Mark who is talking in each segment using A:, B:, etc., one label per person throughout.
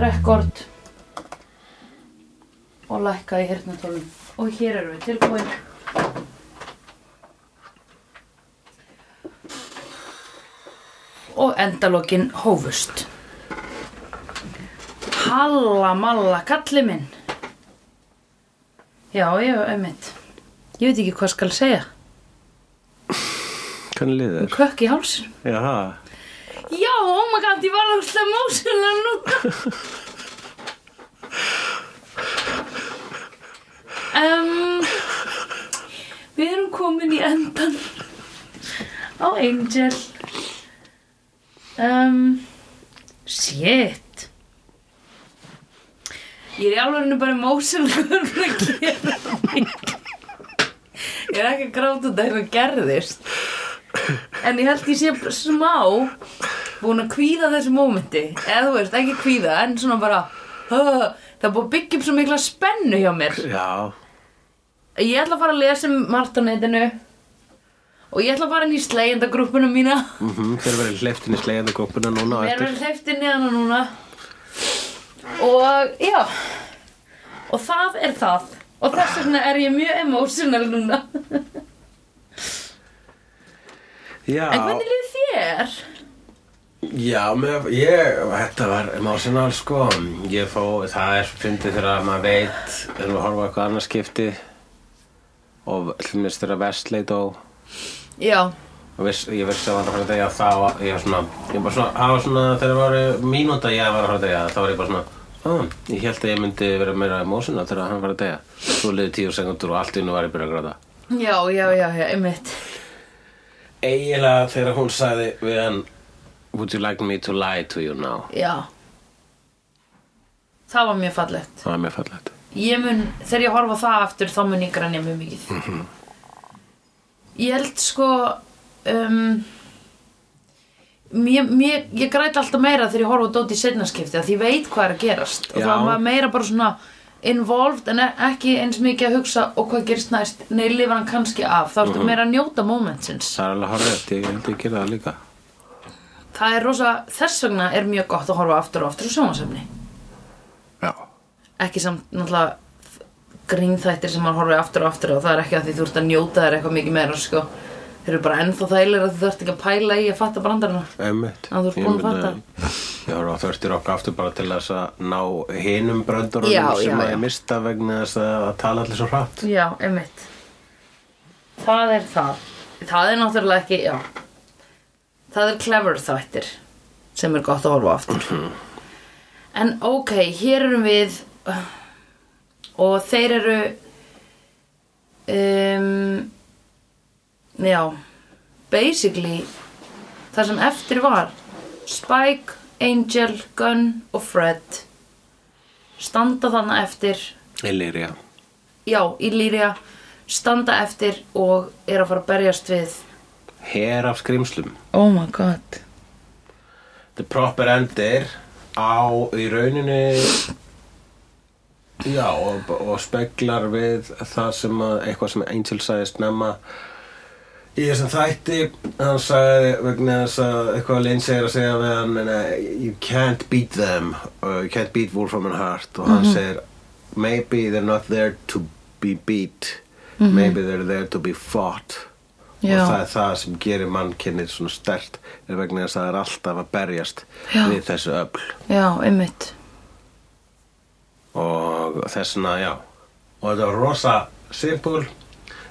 A: rekord og lækka í hirtnatólum. Og hér erum við tilbúin. Og endalokin hófust. Halla malla kalli minn. Já, já, einmitt. Ég veit ekki hvað skal segja.
B: Hvernig liðið er?
A: Kökk í hálsin.
B: Jaha,
A: Já, oh my god, ég var alltaf mósilega núna. um, við erum komin í endan á Angel. Um, shit. Ég er í alveginu bara mósilega að gera mig. Ég er ekki að gráta út af hvað gerðist. En ég held ég sé smá búin að kvíða þessu mómenti eða þú veist, ekki kvíða, en svona bara "Huh", það er búin að byggja upp svo mikla spennu hjá mér
B: já,
A: Ég ætla að fara að lesa um margt á netinu og ég ætla að fara inn í slegjendagrúppuna mína
B: mhm, þeir verið hleyftin í slegjandagópuna núna á
A: Mér
B: eftir
A: verður hleyftir neðan núna Og já Og það er það Og þess vegna er ég mjög emotional núna
B: Já,
A: En hvernig liður þér?
B: já, með, ég, þetta var emotional sko Ég fó, það er fyndið þegar maður veit þegar maður horfa á eitthvað annað skipti og hlumist þegar vestleit og
A: Já,
B: og viss, ég vissi að það var að fara að deyja þá var- ég var svona, ég bara svona, það var svona þegar það var mínúta ég var að fara að deyja þá var ég bara svona, á, ég held að ég myndi vera meira emósina þegar hann var að deyja svo liði tíu sekundur og allt innu var ég byrja að gráta
A: já, já, já, já, einmitt
B: eiginlega þegar hún sagði við hann would you like me to lie to you now
A: Já Það var mjög fallegt
B: það var mér fallegt
A: Ég mun, þegar ég horfa á það aftur þá mun ég grænja mjög mikið Ég held sko um, mér, mér, Ég græt alltaf meira þegar ég horfa á Dóti setnaskipti að ég veit hvað er að gerast og
B: Já.
A: það var maður meira bara svona involved en e- ekki eins mikið að hugsa og hvað gerist næst, nei, lifar hann kannski af þá ertu meira að njóta momentsins
B: það er alveg horrið, ég held ég gera það líka
A: það er rosa, þess vegna er mjög gott að horfa aftur og aftur á sjónvasemni
B: já,
A: ekki samt náttúrulega grínþættir sem maður horfið aftur og aftur og það er ekki að því þú ert að njóta þér eitthvað mikið meira sko. þeir eru bara ennþá þægilega að þú þarft ekki að pæla í að fatta brandarana
B: ömmit
A: Að þú ert búin að fatta.
B: ég var á þörstir okkar aftur bara til þess að ná hinum
A: Já,
B: bröndurunum sem
A: já,
B: að
A: já.
B: ég mista vegna þess að að tala allir svo hratt
A: já, einmitt það er það það er náttúrulega ekki, já það er clever þættir sem er gott að horfa á aftur en ok, hér erum við og þeir eru um, já basically það sem eftir var Spike, Angel, Gunn og Fred standa þarna eftir
B: Illyria
A: já, í Lýria standa eftir og er að fara að berjast við
B: Her af skrimslum
A: oh my god
B: The proper endir á í rauninni já og, og speglar við það sem að eitthvað sem Angel sagði snemma í þessum þætti hann sagði vegna þess að eitthvað Lindsay er að segja við hann "Nei, you can't beat them uh, you can't beat Wolf from an Heart og hann segir maybe they're not there to be beat maybe they're there to be fought
A: Já.
B: og það er það sem gerir mannkynnið svona stert er vegna þess að það er alltaf að berjast
A: Já.
B: við þessu öfl
A: já, einmitt
B: og þessna, já og þetta var rosa simpul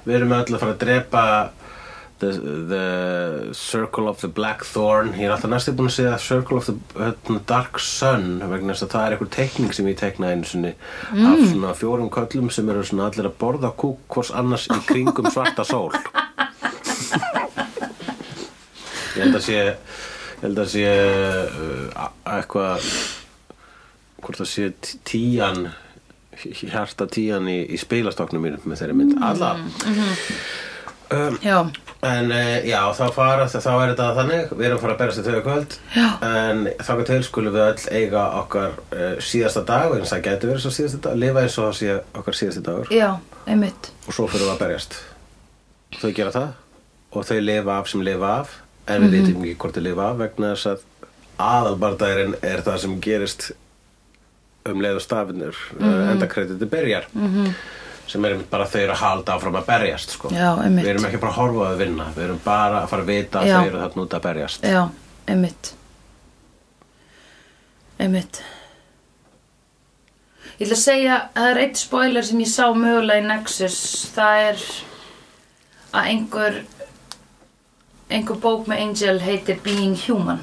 B: við erum öll að fara að drepa the, the Circle of the Black Thorn ég er alltaf næstu búin að segja Circle of the hérna, Dark Sun vegna þess að það er einhver teikning sem ég tekna einu sinni af svona fjórum köllum sem eru svona allir að borða kúk hvors annars í kringum svarta sól ég held að sé ég held að sé uh, a- eitthvað hvort það sé t- tían hjarta tían í, í spilastoknum mínum með þeirri mynd, alla um,
A: já,
B: en uh, já, þá fara þá er þetta þannig, við erum að fara að berast í þau kvöld
A: Já.
B: en þangað til skulum við öll eiga okkar uh, síðasta dag eins og það getur verið svo síðasta dag lifa eins og það sé okkar síðasti dagur
A: já, einmitt
B: og svo fyrir við að berjast þau gera það og þau lifa af sem lifa af en
A: Mhm.
B: við veitum ekki hvort þau lifa af vegna þess að aðalbardærin er það sem gerist um leið og stafinur mm
A: Mhm.
B: enda krediti byrjar sem er einmitt bara þau eru að halda áfram að berjast sko.
A: Já, einmitt.
B: við erum ekki bara að horfa á að vinna við erum bara að fara að vita að
A: Já.
B: þau eru þarna út að berjast
A: Já, einmitt Einmitt Ég ætla að segja að það er eitt spoiler sem ég sá mögulega í Nexus það er að einhver einhver bók með Angel heitir Being Human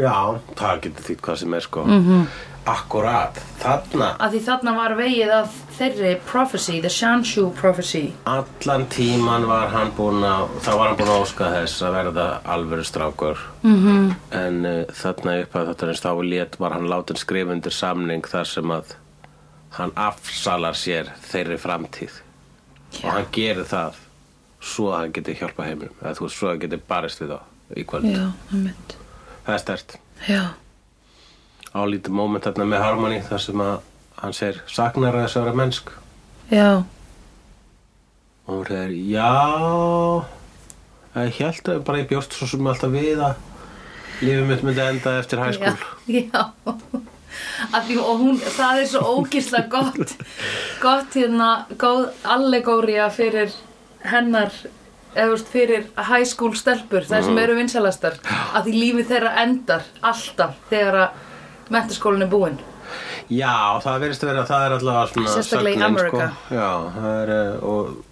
B: Já, það getur þýtt hvað sem er sko mm -hmm.
A: Mhm.
B: Akkurat, þarna
A: að því þarna var vegið að þeirri prophecy, the Shanshu prophecy
B: Allan tíman var hann búinn að þá var hann búinn að óska þess að verða alvöru strákur -hmm. en uh, þarna upp að þetta eins þá lét var hann látin skrifundir samning þar sem að hann afsalar sér þeirri framtíð og hann gerir það svo að hann geti hjálpa heiminum eða þú veist, svo að hann geti barist við þá í kvöld
A: Já, einmitt
B: Það er stert
A: Já,
B: álítið moment þarna með Harmony þar sem að hann segir saknar þess að vera mennsk
A: já,
B: og hún segir já ég held að bara ég bjóst svo sem alltaf við að lífið mitt myndi enda eftir high
A: já,
B: school
A: já. Að Því, og hún, það er svo ógisla gott gott hérna góð allegória fyrir hennar eða þú veist, fyrir high school stelpur þær
B: Mm.
A: sem eru vinsalastar að því lífi þeirra endar alltaf þegar að mentaskólinn er búinn
B: já, það verðist að vera það er alltaf svona
A: Sérstaklega í
B: sögnin,
A: Amerika.
B: sko. já, það er eh, og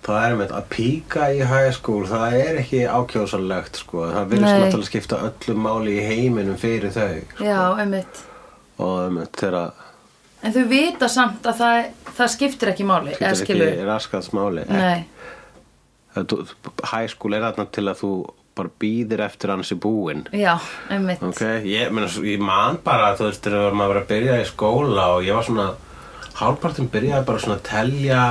B: það er með að píka í high school það er ekki ákjósanlegt sko. það verðist
A: Nei.
B: náttúrulega skipta öllu máli í heiminum fyrir þau
A: já, einmitt
B: og um, þegar
A: en þau vita samt að það, það skiptir ekki máli eða
B: þetta er
A: skilur
B: ekki raskaðsmáli
A: nei,
B: Að þú- high school er þarna til að þú bara býðir eftir hans í búinn
A: já, einmitt
B: ok, ég, meina, svo- ég man bara þú veist, þegar maður var að byrja í skóla og ég var svona, hálfpartin byrjaði bara svona að telja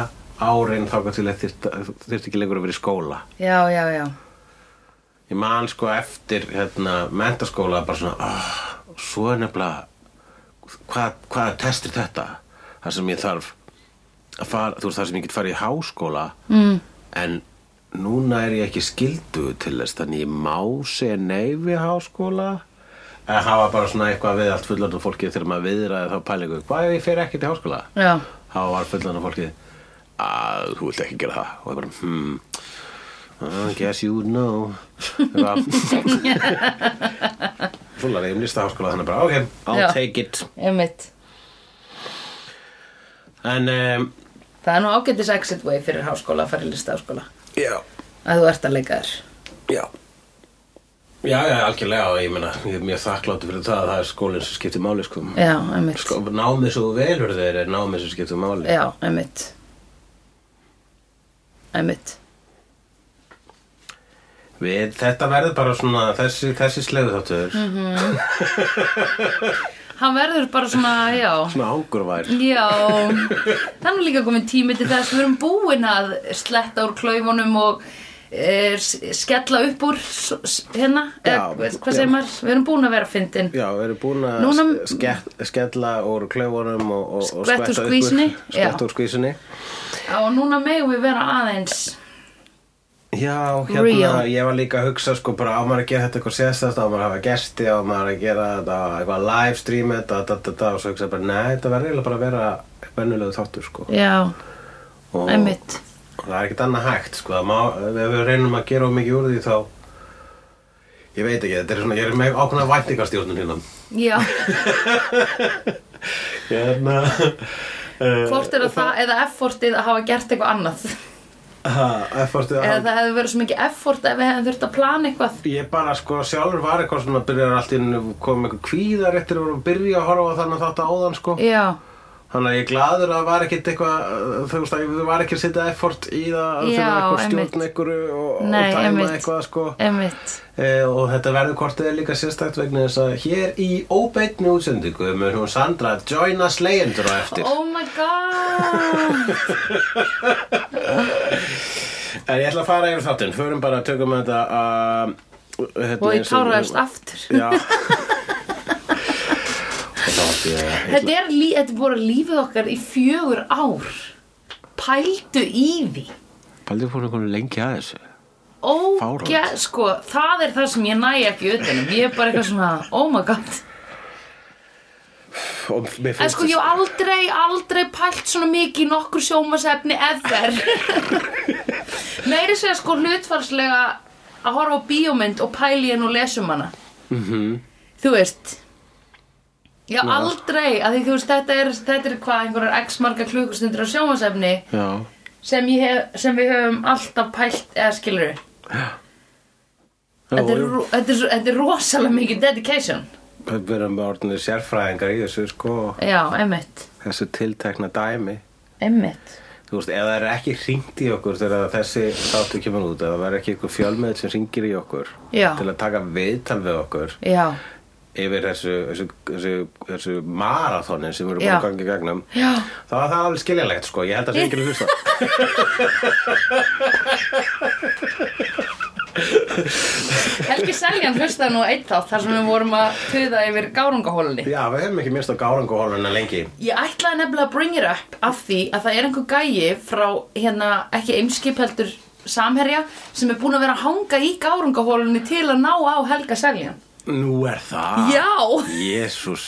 B: árin þáka til að þyrst ekki lengur að vera í skóla
A: já, já, já,
B: ég man sko eftir hérna, mentaskóla bara svona oh, svo er nefnilega hvað, hvað testir þetta þar sem ég þarf að fara þú veist þar sem ég get farið í háskóla mm. en núna er ég ekki skildu til þess þannig ég má segja nei við háskóla að hafa bara svona eitthvað við allt fullandu fólkið þegar maður viðraði þá pælingu hvað ef ég fer ekki til háskóla
A: já
B: þá var fullandu fólkið að þú vilt ekki gera það og ég bara hmm I guess you would know Svona er ég um listaháskóla þannig bara ok, I'll
A: Já.
B: take it
A: einmitt
B: En um,
A: það er nú ágætis exit way fyrir háskóla að fara í listaháskóla
B: já,
A: að þú ert að leika þér
B: já Já, já, algjörlega og ég meina, ég er mjög þakkláttur fyrir það að það er skólinn sem skiptir máli sko.
A: já, einmitt
B: sko Námið svo velur þeir er námið sem skiptir máli
A: já, einmitt einmitt
B: Við, Þetta verður bara svona þessi, þessi slegu þáttur
A: hann verður bara svona, já
B: Svona ángurvær
A: já, þannig líka komin tími til þess við erum búin að sletta úr klaufunum og e, skella upp úr s- s- hérna,
B: Já,
A: eða hvað segir
B: já.
A: maður við erum búin að vera fyndin
B: Já, við erum búin að
A: Núna-
B: skett, skella úr klaufunum og, og, og
A: Skvett úr
B: skvetta upp
A: skvísunni, já.
B: Skvett úr skvísunni
A: og núna megum við vera aðeins
B: Já, hérna,
A: Real.
B: ég var líka að hugsa sko bara á maður að gera þetta eitthvað sérstæðast á maður að hafa gesti á maður að gera þetta eitthvað live stream þetta, þetta, þetta og svo hugsa bara, nei, þetta verður eiginlega bara að vera vennulegu þáttur sko
A: já,
B: og,
A: einmitt
B: og það er ekkert annað hægt sko það má, ef við reynum að gera of mikið úr því þá ég veit ekki, þetta er svona, ég er með ákveðna væntingastjórnum hérna
A: já,
B: hérna eh,
A: hvort er að það eða effortið að hafa gert eitthvað annað
B: eh, ha, effortið að
A: eða
B: halda-
A: það hefði verið svo mikið effort ef við hefðum þurft að plana eitthvað
B: Ég bara sko sjálfur var eitthvað svona byrjar allt inn kom eitthvað kvíðar eftir að voru að byrja að horfa á þannig að þetta áðan sko
A: já,
B: Þannig að ég er gladur að það var ekkert eitthvað uh, þú veist að ég var ekki að setja effort í það að
A: Já,
B: finna eitthvað
A: einmitt.
B: stjórn einhverju og,
A: Nei,
B: og dæma
A: einmitt.
B: eitthvað sko
A: einmitt
B: e, og þetta verður hvort eða líka sérstakt vegna þess að hér í óbeinni útsendingu mun hún Sandra að joina slegjendur á eftir
A: oh my god
B: En ég ætla að fara yfir þáttinn, förum bara að tökum þetta að hérna,
A: og ég
B: eins og-
A: táraðist aftur
B: Já Og þá átti ég að-
A: þetta er, lí, þetta er bara lífið okkar í fjögur ár pældu í því
B: Paldur fór einhvern lengi að þessu
A: ógja, um. sko, það er það sem ég næ ekki utanum ég er bara eitthvað svona, oh my god
B: og mér
A: En
B: finnst
A: sko, ég hef aldrei, aldrei pælt svona mikið í nokkur sjómasefni ever. Meiri segja sko hlutfalslega að horfa á bíómynd og pæli henn og lesum hana. -hmm. Þú veist, ég hef aldrei, að því þú veist, þetta er, þetta er hvað einhverjar x marga klukkustundur á sjómasefni
B: Já,
A: sem, ég hef, sem við höfum alltaf pælt eða skilur við. Þetta er, ro- þetta, er, svo- þetta er rosalega mikið dedication.
B: Við erum bara orðinir sérfræðingar í þessu sko
A: Já, einmitt,
B: þessu tiltekna dæmi
A: einmitt.
B: Þú veist, ef það er ekki hringt í okkur þegar þessi þáttu kemur út ef það er ekki eitthvað fjölmiðl sem hringir í okkur
A: Já.
B: til að taka viðtal við okkur
A: Já,
B: yfir þessu, þessu, þessu, þessu marathónin sem eru búin
A: Já.
B: að gangi í gegnum
A: Já.
B: þá er það alveg skiljanlegt sko, ég held að það sé ekki að hlusta
A: Helgi Seljan hlustaði nú á eitt þátt þar sem við vorum að tuða yfir gárungahólunni.
B: Já, við hefum ekki minnst á gáranguhóluna lengi
A: Ég ætlaði nefnilega að bring it up af því að það er einhver gæi frá hérna ekki eimskip heldur samherja sem er búin að vera að hanga í gárungahólunni til að ná á Helga Seljan.
B: Nú er það
A: Já,
B: Jésús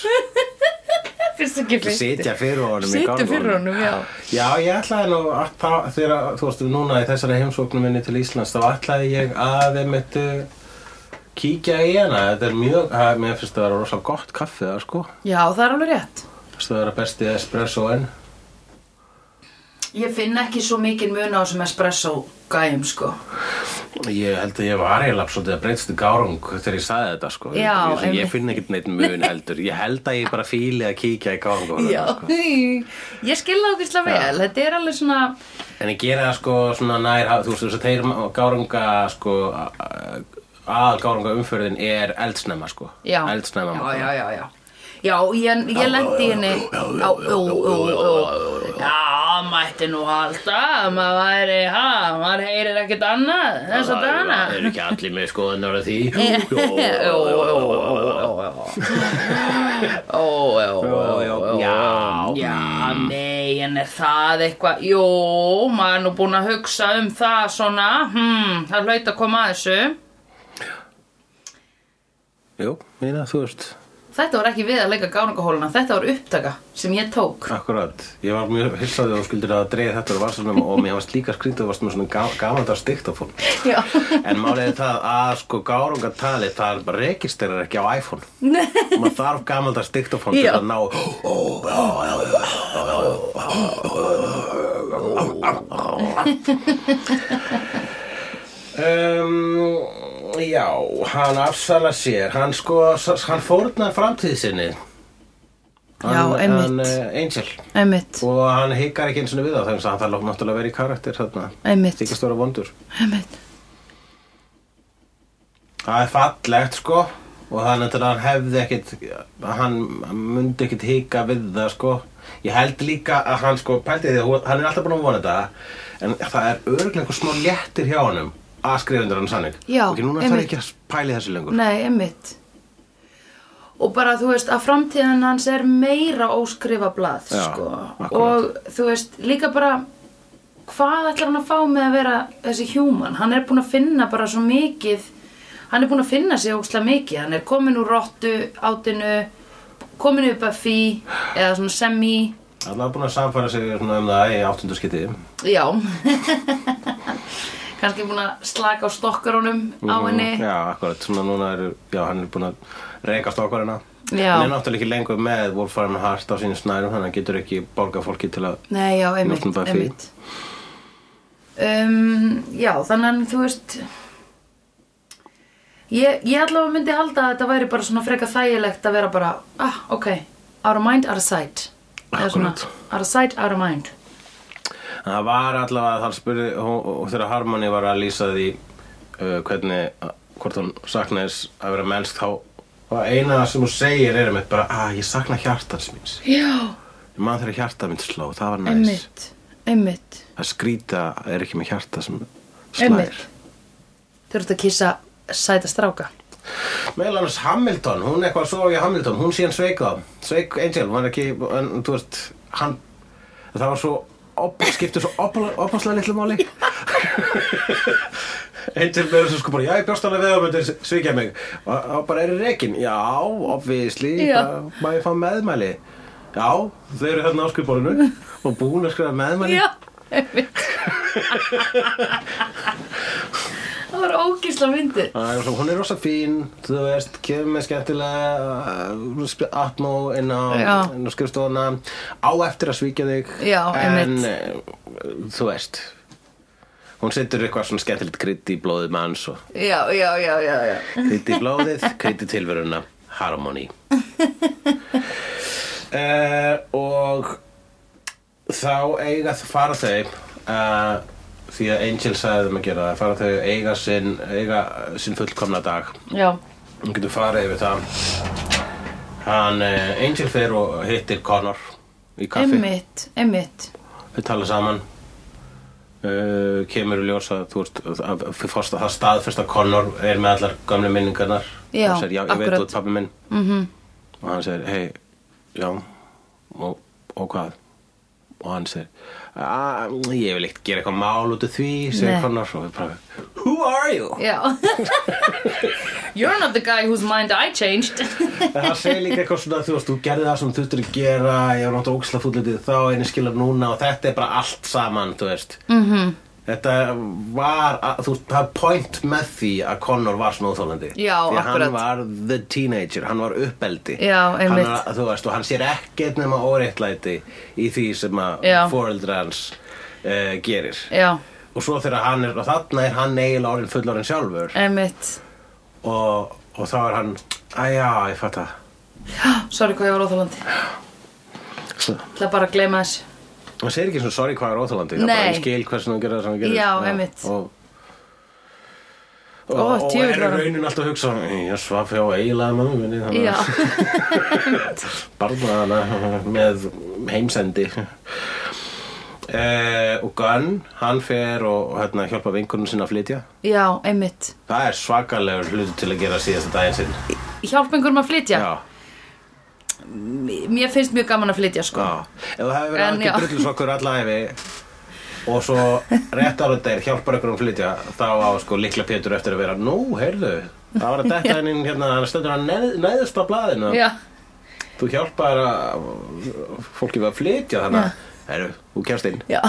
A: fyrst ekki fyrst.
B: Sitja fyrir honum í
A: Sitja
B: gárungunum.
A: fyrir honum, já.
B: Já, ég ætlaði nú að þá, þegar, þú veist, núna í þessari heimsóknum minni til Íslands, þá ætlaði ég að þeim eittu kíkja í hana. Þetta er mjög, að, mér finnst það að vera rosa gott kaffi það, sko.
A: Já, það er alveg rétt.
B: Finnst það að vera besti espressoinn.
A: Ég finn ekki svo mikinn mun á þessum espresso gæjum sko.
B: Ég held að ég var eiginlega svolítið að breytstu gárung þegar ég sagði þetta, sko.
A: Já,
B: ég, ég,
A: einmitt.
B: ég finn ekkert neitt mun heldur. Ég held að ég bara fíli að kíkja í gárung
A: Já,
B: sko.
A: ég skilða okkur vel, þetta er alveg svona,
B: En ég gera það sko svona nær, þú veist þess að þeir gárunga sko aðal gárunga umförðin er eldsnæma sko.
A: já.
B: Eldsnæma.
A: Já, já, já, já. Já, ég, ég lendi í henni á, ú, ú, ú. Já, mætti nú halda, að maður væri, ha, maður heyrir ekkert annað, þess að dana.
B: Það eru ekki allir með skoðunar að því.
A: Ó, ó, ó, ó, ó, ó. Ó, ó, ó, ó, ó.
B: Já.
A: Já, nei, en er það eitthvað, jú, maður er nú búinn að hugsa um það svona, hmm, það hlaut að koma að þessu.
B: Jú, mína, þú veist.
A: Þetta var ekki við að leika gáningahóluna, þetta var upptaka sem ég tók.
B: Akkurat. Ég var mjög hilsaði og skuldur að dreigja þetta úr varsalnum og mér varst líka skrýnt og varst með svona gamandar stiktafón.
A: Já.
B: En málið er það að sko gárungatali það er bara rekisterar ekki á iPhone. Maður þarf gamaldar stiktafón til
A: Já.
B: að ná um, Já, hann afsala sér hann sko, hann fórnar framtíð sinni
A: Já, einmitt.
B: hann, eh, Angel
A: Einmitt,
B: og hann hikar ekki eins og við á þeim hann þarf náttúrulega að vera í karakter þarna
A: einmitt,
B: þykist vera vondur
A: einmitt.
B: Það er fallegt sko og það er náttúrulega hann hefði ekkit hann myndi ekkit hika við það sko ég held líka að hann sko pælti því að hún- hann er alltaf búin að vona þetta en það er örgulega einhver smá léttir hjá honum að skrifa undir hann sannig
A: Já,
B: og ekki núna þarf
A: einmitt.
B: ekki að pæli þessu lengur
A: Nei, einmitt. Og bara þú veist að framtíðan hans er meira óskrifa blað,
B: Já,
A: sko.
B: akkurat.
A: Og þú veist líka bara hvað ætlar hann að fá með að vera þessi human? Hann er búinn að finna bara svo mikið, hann er búinn að finna sig ókslega mikið. Hann er komin úr rottu átinu, komin upp að fí eða svona semi.
B: hann er búin að samfæra sig svona um það í áttundarskiti
A: Já kannski búin að slaka á stokkarunum á henni
B: Mhm, já, akkurat, svona núna er já, hann er búin að reikast okkur hennar
A: Já.
B: hann er náttúrulega ekki lengur með Wolfram Hart á sínum snærum þannig að hann getur ekki borga fólki til að
A: Nei, já, einmitt,
B: Notnum Buffy.
A: einmitt. Um, Já, þannig að þú veist ég, ég allavega myndi halda að þetta væri bara svona freka þægilegt að vera bara ah, ok, out of mind, out of sight Eða svona,
B: Akkurat.
A: out of sight, out of mind
B: En Það var allavega þar spurði hún, og þegar Harmony var að lýsa því uh, hvernig, uh, hvort hún saknaðis að vera mennsk þá og eina sem hún segir er einmitt bara að ég sakna hjartans míns
A: Já,
B: ég man þegar hjarta mitt sló, það var næs
A: einmitt, einmitt
B: að skrýta er ekki með hjarta sem slær
A: einmitt Þú ert að kissa sæta stráka
B: meðal annars Hamilton, hún eitthvað svo í Hamilton hún síðan sveik það, sveik Angel hún var ekki, en, þú veist hann, það var svo op, skiptu svo opaslega litlu máli Angel verður svo sko bara, já ég bjóst hann að við að myndi svikja mig og, og bara er í rekin, já, obviously
A: Já.
B: bara, maður fá meðmæli Já, þau eru hérna á skrifborinu og búin að skrifa með manni
A: Já, einmitt. Það var ógísla myndið.
B: Það er svo, hún er rosa fín, þú veist, kemur með skemmtilega uh, atmó inn á,
A: Já.
B: inn á skrifstofuna, á eftir að svíkja þig,
A: Já,
B: en
A: einmitt.
B: uh, þú veist, hún setur eitthvað svona skemmtilegt krydd í blóðið manns og
A: Já, já, já, já, já.
B: krydd í blóðið, krydd í tilveruna, harmony. uh, og þá eiga það fara þau, uh, því að Angel sagði þeim að gera það, fara þau eiga sinn, eiga sinn fullkomna dag.
A: Já,
B: Hún getur farið yfir það Hann, eh, Angel fer og hittir Connor í kaffi
A: einmitt, einmitt.
B: Þau tala saman uh, Kemur í ljós að þú ert að, að, fórst- Það staðfyrst að Connor er með allar gömlu minningarnar
A: Já,
B: Hann segir, já, ég veit
A: akkurat. Mhm.
B: þú ert pappi minn mm -hmm. Og hann segir, hei, já og, og hvað? Og hann segir, að, ég vil ekkert gera eitthvað mál út af því segir
A: Nei.
B: Connor og við bara, who are you?
A: Já. You're not the guy whose mind I changed.
B: En það segir líka eitthvað svona, þú veist, þú gerði það sem þú þurftur að gera, ég var náttúrulega ógislega fúllitið þá, en ég skilur núna og þetta er bara allt saman, þú veist. Mm
A: Mhm.
B: -hmm. Þetta var, að- þú veist, það er point með því að Connor var svona óþólandi.
A: Já,
B: Því að
A: akkurat.
B: hann var the teenager, hann var uppeldi.
A: Já, einmitt.
B: Hann var, þú veist, og hann sér ekkert nema óreittlæti í því sem að
A: Já.
B: foreldrar hans uh, gerir.
A: Já,
B: Og svo þegar hann er, og þarna er hann eiginlega orðin fullorinn sjálfur
A: einmitt.
B: og, og þá er hann, æja, ég fatt að,
A: Sorry hvað ég var óþálandi. Það bara að gleyma þessu.
B: Það segir ekki svona sorry hvað er óþálandi Það er
A: Nei.
B: bara ég skil hversu hún gerir það sem hún gerir
A: Já, einmitt.
B: Og, og,
A: Ó,
B: og
A: djöfull
B: er
A: var hann-
B: raunin alltaf að hugsa Ég svaf hjá eiginlega mömmu minni Þannig
A: Já,
B: að barna hana með heimsendi eh, Og Gunn, hann fer og hérna, hjálpa vinkunum sinna að flytja
A: já, einmitt.
B: Það er svakalegur hlutu til að gera síðasta daginn sinn
A: Hjálp einhverjum um að flytja.
B: Já,
A: Mér finnst mjög gaman að flytja, sko.
B: já Ef það hefur verið
A: En, já.
B: algjör drullusokkur alla æfi Og svo rétt ára þeir hjálpar ykkur um að flytja Þá á sko líkla Pétur eftir að vera Nú, heyrðu, það var að detta hennin hérna Það stendur hann neð, neðust á blaðinu
A: Já,
B: Þú hjálpar að fólki við að flytja Þannig að, heyrðu, þú kemst inn
A: já.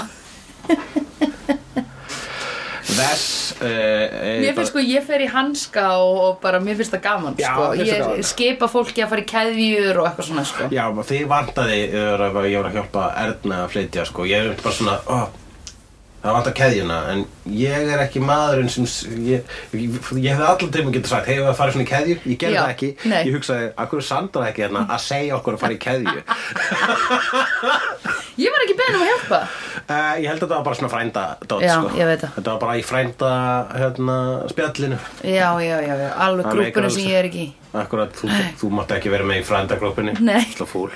B: Vess uh,
A: Mér finnst sko, ég fer í hanska og, og bara mér finnst það gaman,
B: Já,
A: sko.
B: mér finnst það gaman.
A: Ég skipa fólki að fara í keðjur og eitthvað svona, sko.
B: Já, þið vantaði þegar að ég var að hjálpa Erna að flytja sko. Ég er bara svona, ó, það vantar keðjuna En ég er ekki maðurinn sem s- Ég, ég, ég hefði allan tíma getur sagt Hefur það farið svona í keðju? Ég gerði
A: Já,
B: það ekki
A: nei.
B: Ég hugsaði, akkur er Sandra ekki hérna að segja okkur að fara í keðju
A: Ég var ekki beðin um að hjálpa.
B: uh, Ég held að þetta var bara svona frænda dot,
A: Já,
B: sko.
A: ég veit það.
B: Þetta var bara í frænda hérna, spjallinu
A: Já, já, já, já. Alveg
B: Það meikar
A: grúpuna
B: alveg
A: sem
B: sens.
A: ég er ekki í.
B: Akkurat, þú, þú mátt ekki vera með í frændaglópinni
A: Nei.
B: Slá fúl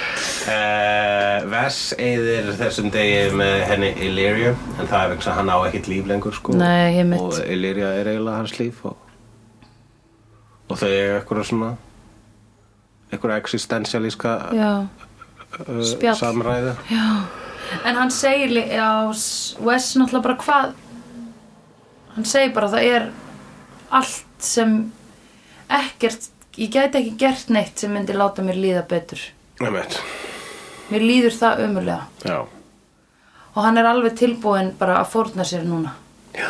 B: uh, Vess eyðir þessum degi með henni Illyria En það er vegna þess að hann á ekkert líf lengur sko.
A: Nei, ég mitt.
B: Og Illyria er eiginlega hans líf Og, og þau eru eitthvað svona Eitthvað existentialíska
A: Já.
B: uh,
A: spjall.
B: samræðu
A: En hann segir, lí- já, s- Wes náttúrulega bara hvað Hann segir bara það er allt sem ekkert, ég gæti ekki gert neitt sem myndi láta mér líða betur
B: Nei, mitt
A: Mér líður það ömulega
B: Já,
A: og hann er alveg tilbúinn bara að fórna sér núna
B: já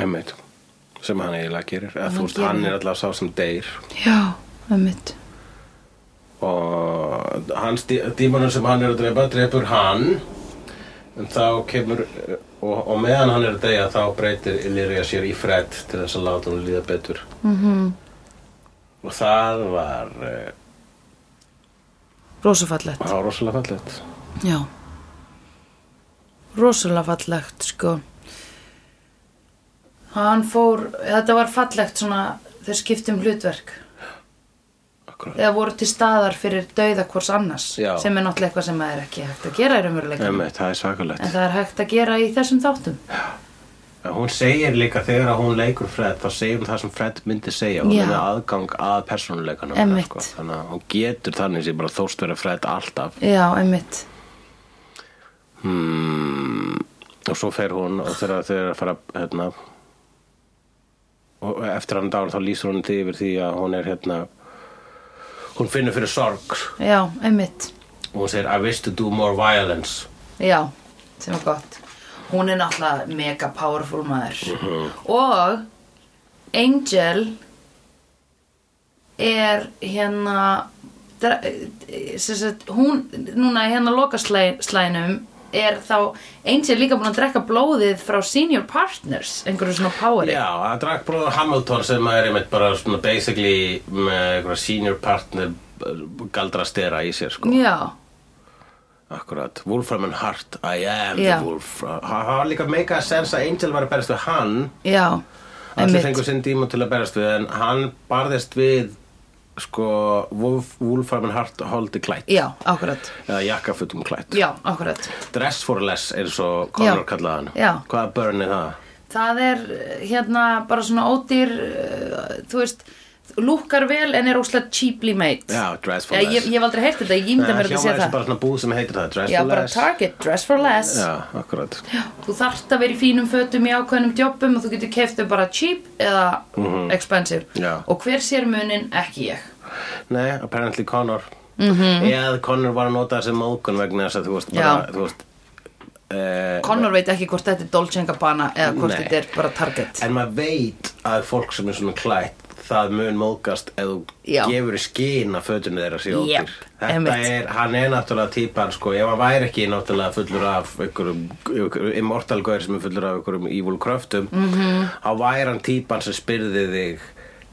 B: Einmitt sem hann eiginlega gerir eða þú
A: Hann
B: veist,
A: gerir
B: hann
A: það.
B: er alltaf sá sem deyr
A: Já, ömmit
B: og hans dímanur sem hann er að drepa drepur hann en þá kemur eh, og, og meðan hann er að deyja þá breytir Illyria sér í Fred til þess að láta hún líða betur mm
A: Mhm.
B: -hmm. og það var eh,
A: Rósafallegt
B: það var rosalega fallegt
A: Já Rosalega fallegt sko Hann fór Þetta var fallegt svona þau skiptum hlutverk
B: akkurat
A: eða voru til staðar fyrir dauða hvors annars
B: Já.
A: sem er náttúrulega eitthvað sem er ekki hægt að gera í raunveruleika
B: Emmeit, það er svakalegt
A: en það er hægt að gera í þessum þáttum
B: En Hún segir líka þegar að hún leikur Fred þá segir hún það sem Fred myndi segja hún
A: Já.
B: er með aðgang að persónuleikanum sko.
A: Einmitt.
B: þannig að hún getur þannig sem bara þóst vera Fred alltaf
A: já, einmitt
B: Hmm, og svo fer hún og þegar þau eru að fara hérna og eftir hann dáin þá lýsir hún því yfir því að hún er hérna hún finnur fyrir sorg
A: já, einmitt
B: og hún segir I wish to do more violence
A: já, sem var gott hún er náttúrulega mega powerful maður
B: Mhm.
A: og Angel er hérna dra- sem sagt, hún núna í hérna lokaslæðinum er þá Angel líka búin að drekka blóðið frá senior partners einhverju svona poweri
B: Já, það drakk bróður Hamilton sem er einmitt bara svona basically með einhverja senior partner galdra stera í sér sko
A: já,
B: Akkurat, Wolfram and Hart, I am
A: Já.
B: the Wolfram Það var líka meika sens að Angel var að berast við hann
A: já
B: Allir
A: einmitt.
B: fengur sinn díma til að berast við en hann barðist við sko Wolf, Wolfram and Hart holdi klætt
A: já, akkurat
B: eða jakkafutum klætt
A: já, akkurat
B: Dress for less eins og
A: Já.
B: Conor kallaði hann
A: Já.
B: Hvaða burn er það?
A: Það er eh, hérna bara svona ódýr, uh, þú veist, lúkkar vel en er óslega cheaply made.
B: Já, dress for
A: Já, ég,
B: less
A: ég hef aldrei heyrt þetta, ég ímynda
B: Nei,
A: mér að
B: hljómar
A: þetta sé
B: eins og
A: það.
B: bara svona búð sem heitir það Dress
A: Já,
B: for
A: bara
B: less
A: target, dress for less.
B: Já, akkurat
A: Þú þarft að vera í fínum fötum í ákveðnum djópum og þú getur keift þau bara cheap eða expensive.
B: Mhm. Já.
A: Og hver sér munin? Ekki ég.
B: Nei, apparently Connor -hmm. Eða Connor var að nota þessi mókun vegna þess að þú veist bara,
A: Mhm. Já.
B: þú veist eh,
A: Connor veit ekki hvort þetta er Dolce Gabbana eða hvort
B: Nei.
A: þetta er bara target.
B: En maður veit að fólk sem er svona klætt það mun móðgast ef þú
A: Já.
B: gefur í skín að fötunni þeirra sé ódýr
A: Jep,
B: Þetta
A: einmitt.
B: er, hann er náttúrulega típan sko, ef hann væri ekki náttúrulega fullur af einhverjum, einhverjum immortal gaur sem er fullur af einhverjum evil kröftum
A: Mhm.
B: -hmm. þá væri hann típan sem spyrði þig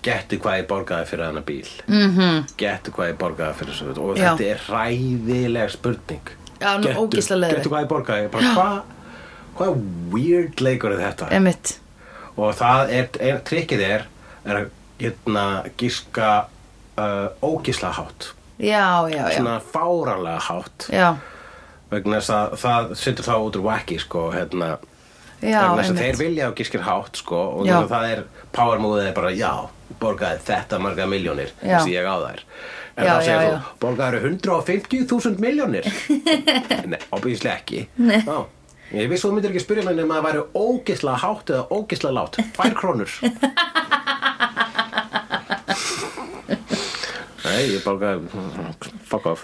B: getu hvað ég borgaði fyrir hana bíl mm -hmm. getu hvað ég borgaði fyrir þessu föt." og
A: Mhm. Já.
B: þetta er ræðileg spurning
A: Já, nú ógeðslega leiðilegt.
B: getu hvað ég borgaði bara, hvað hvað weird leikur er þetta
A: Emmitt.
B: og það er, er trikkið er, er að getna gíska uh, ógísla hátt
A: Já, já, já.
B: svona fáralega hátt
A: Já,
B: vegna þess að það setur þá út úr vakki sko, hérna,
A: já,
B: vegna þess að þeir
A: einmitt.
B: vilja að gískir hátt sko, og
A: Já.
B: já. það er power move er bara já, borgaði þetta marga miljónir
A: Já.
B: sem ég á þær en
A: Já,
B: þá segir
A: já,
B: þú,
A: já.
B: borgaði 150.000 miljónir nei, obvíðislega ekki
A: Nei.
B: Ná, ég vissi þú myndir ekki spyrja mig nema að það væri ógísla hátt eða ógísla látt, fær krónur Nei, ég borgaði Fuck off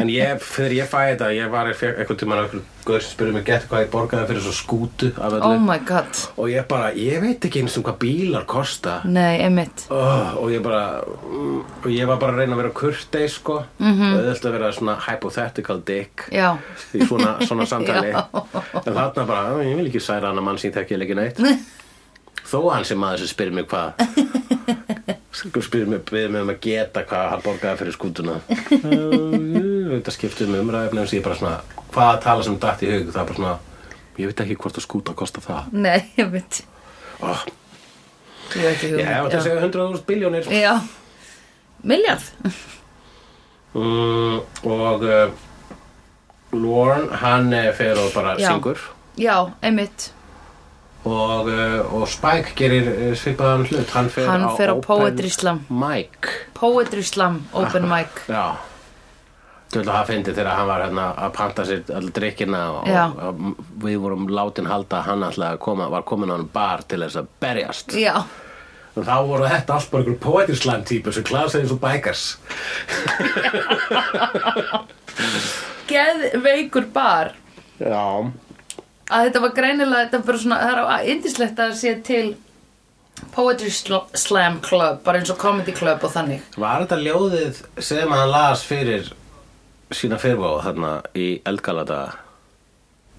B: En ég, þegar ég fæði þetta Ég var eitthvað tímann að Guður sem spurði mig gett hvað ég borgaði fyrir svo skútu af öllu
A: Oh my god.
B: Og ég bara, ég veit ekki eins og hvað bílar kosta
A: Nei, emmitt.
B: oh, Og ég bara mm, Og ég var bara að reyna að vera kurtei sko mm -hmm. Og auðvitað að vera svona hypothetical dick
A: Mhm. Já.
B: Í svona, svona samtali
A: Já.
B: En þarna bara, "Ah, ég vil ekki særa hann að mann sem ég tekja ekki neitt Þó að hann sem maður sem spyrir mig hvað spyrir mig, byrðir mig um að geta hvað hann borgaði fyrir skútuna Eh, þetta skiptir mig umræðefni og ég bara svona, hvað tala sem dætt í hug það er bara svona, ég veit ekki hvort að skúta kosta það
A: Nei, emmitt.
B: oh,
A: Ég hef ekki hugmynd.
B: ég hef að segja 100.000 biljónir
A: Já, miljard
B: mm, og uh, Lorne, hann uh, fer og bara
A: Já.
B: syngur
A: Já, einmitt
B: og, uh, og Spike gerir uh, svipaðan hlut hann fer
A: Hann
B: á,
A: fer á
B: open
A: Poetry Slam.
B: mic
A: Poetry Slam, Open
B: Ah.
A: Mic
B: Já Þú veist að það fyndi þegar hann var hérna að panta sér allir drikkina og,
A: Já.
B: og við vorum látin halda að hann alltaf að koma, var komin á hann bar til þess að berjast.
A: Já,
B: Og þá voru þetta allt bara einhver poetislam típu sem klasa eins og bækars.
A: geðveikur bar
B: Já.
A: að þetta var greinilega þetta var bara svona, það er á indislegt að sé til Poetry Sl- Slam Club bara eins og Comedy Club og þannig
B: Var þetta ljóðið sem hann las fyrir sína fyrirbóð þarna í eldgalata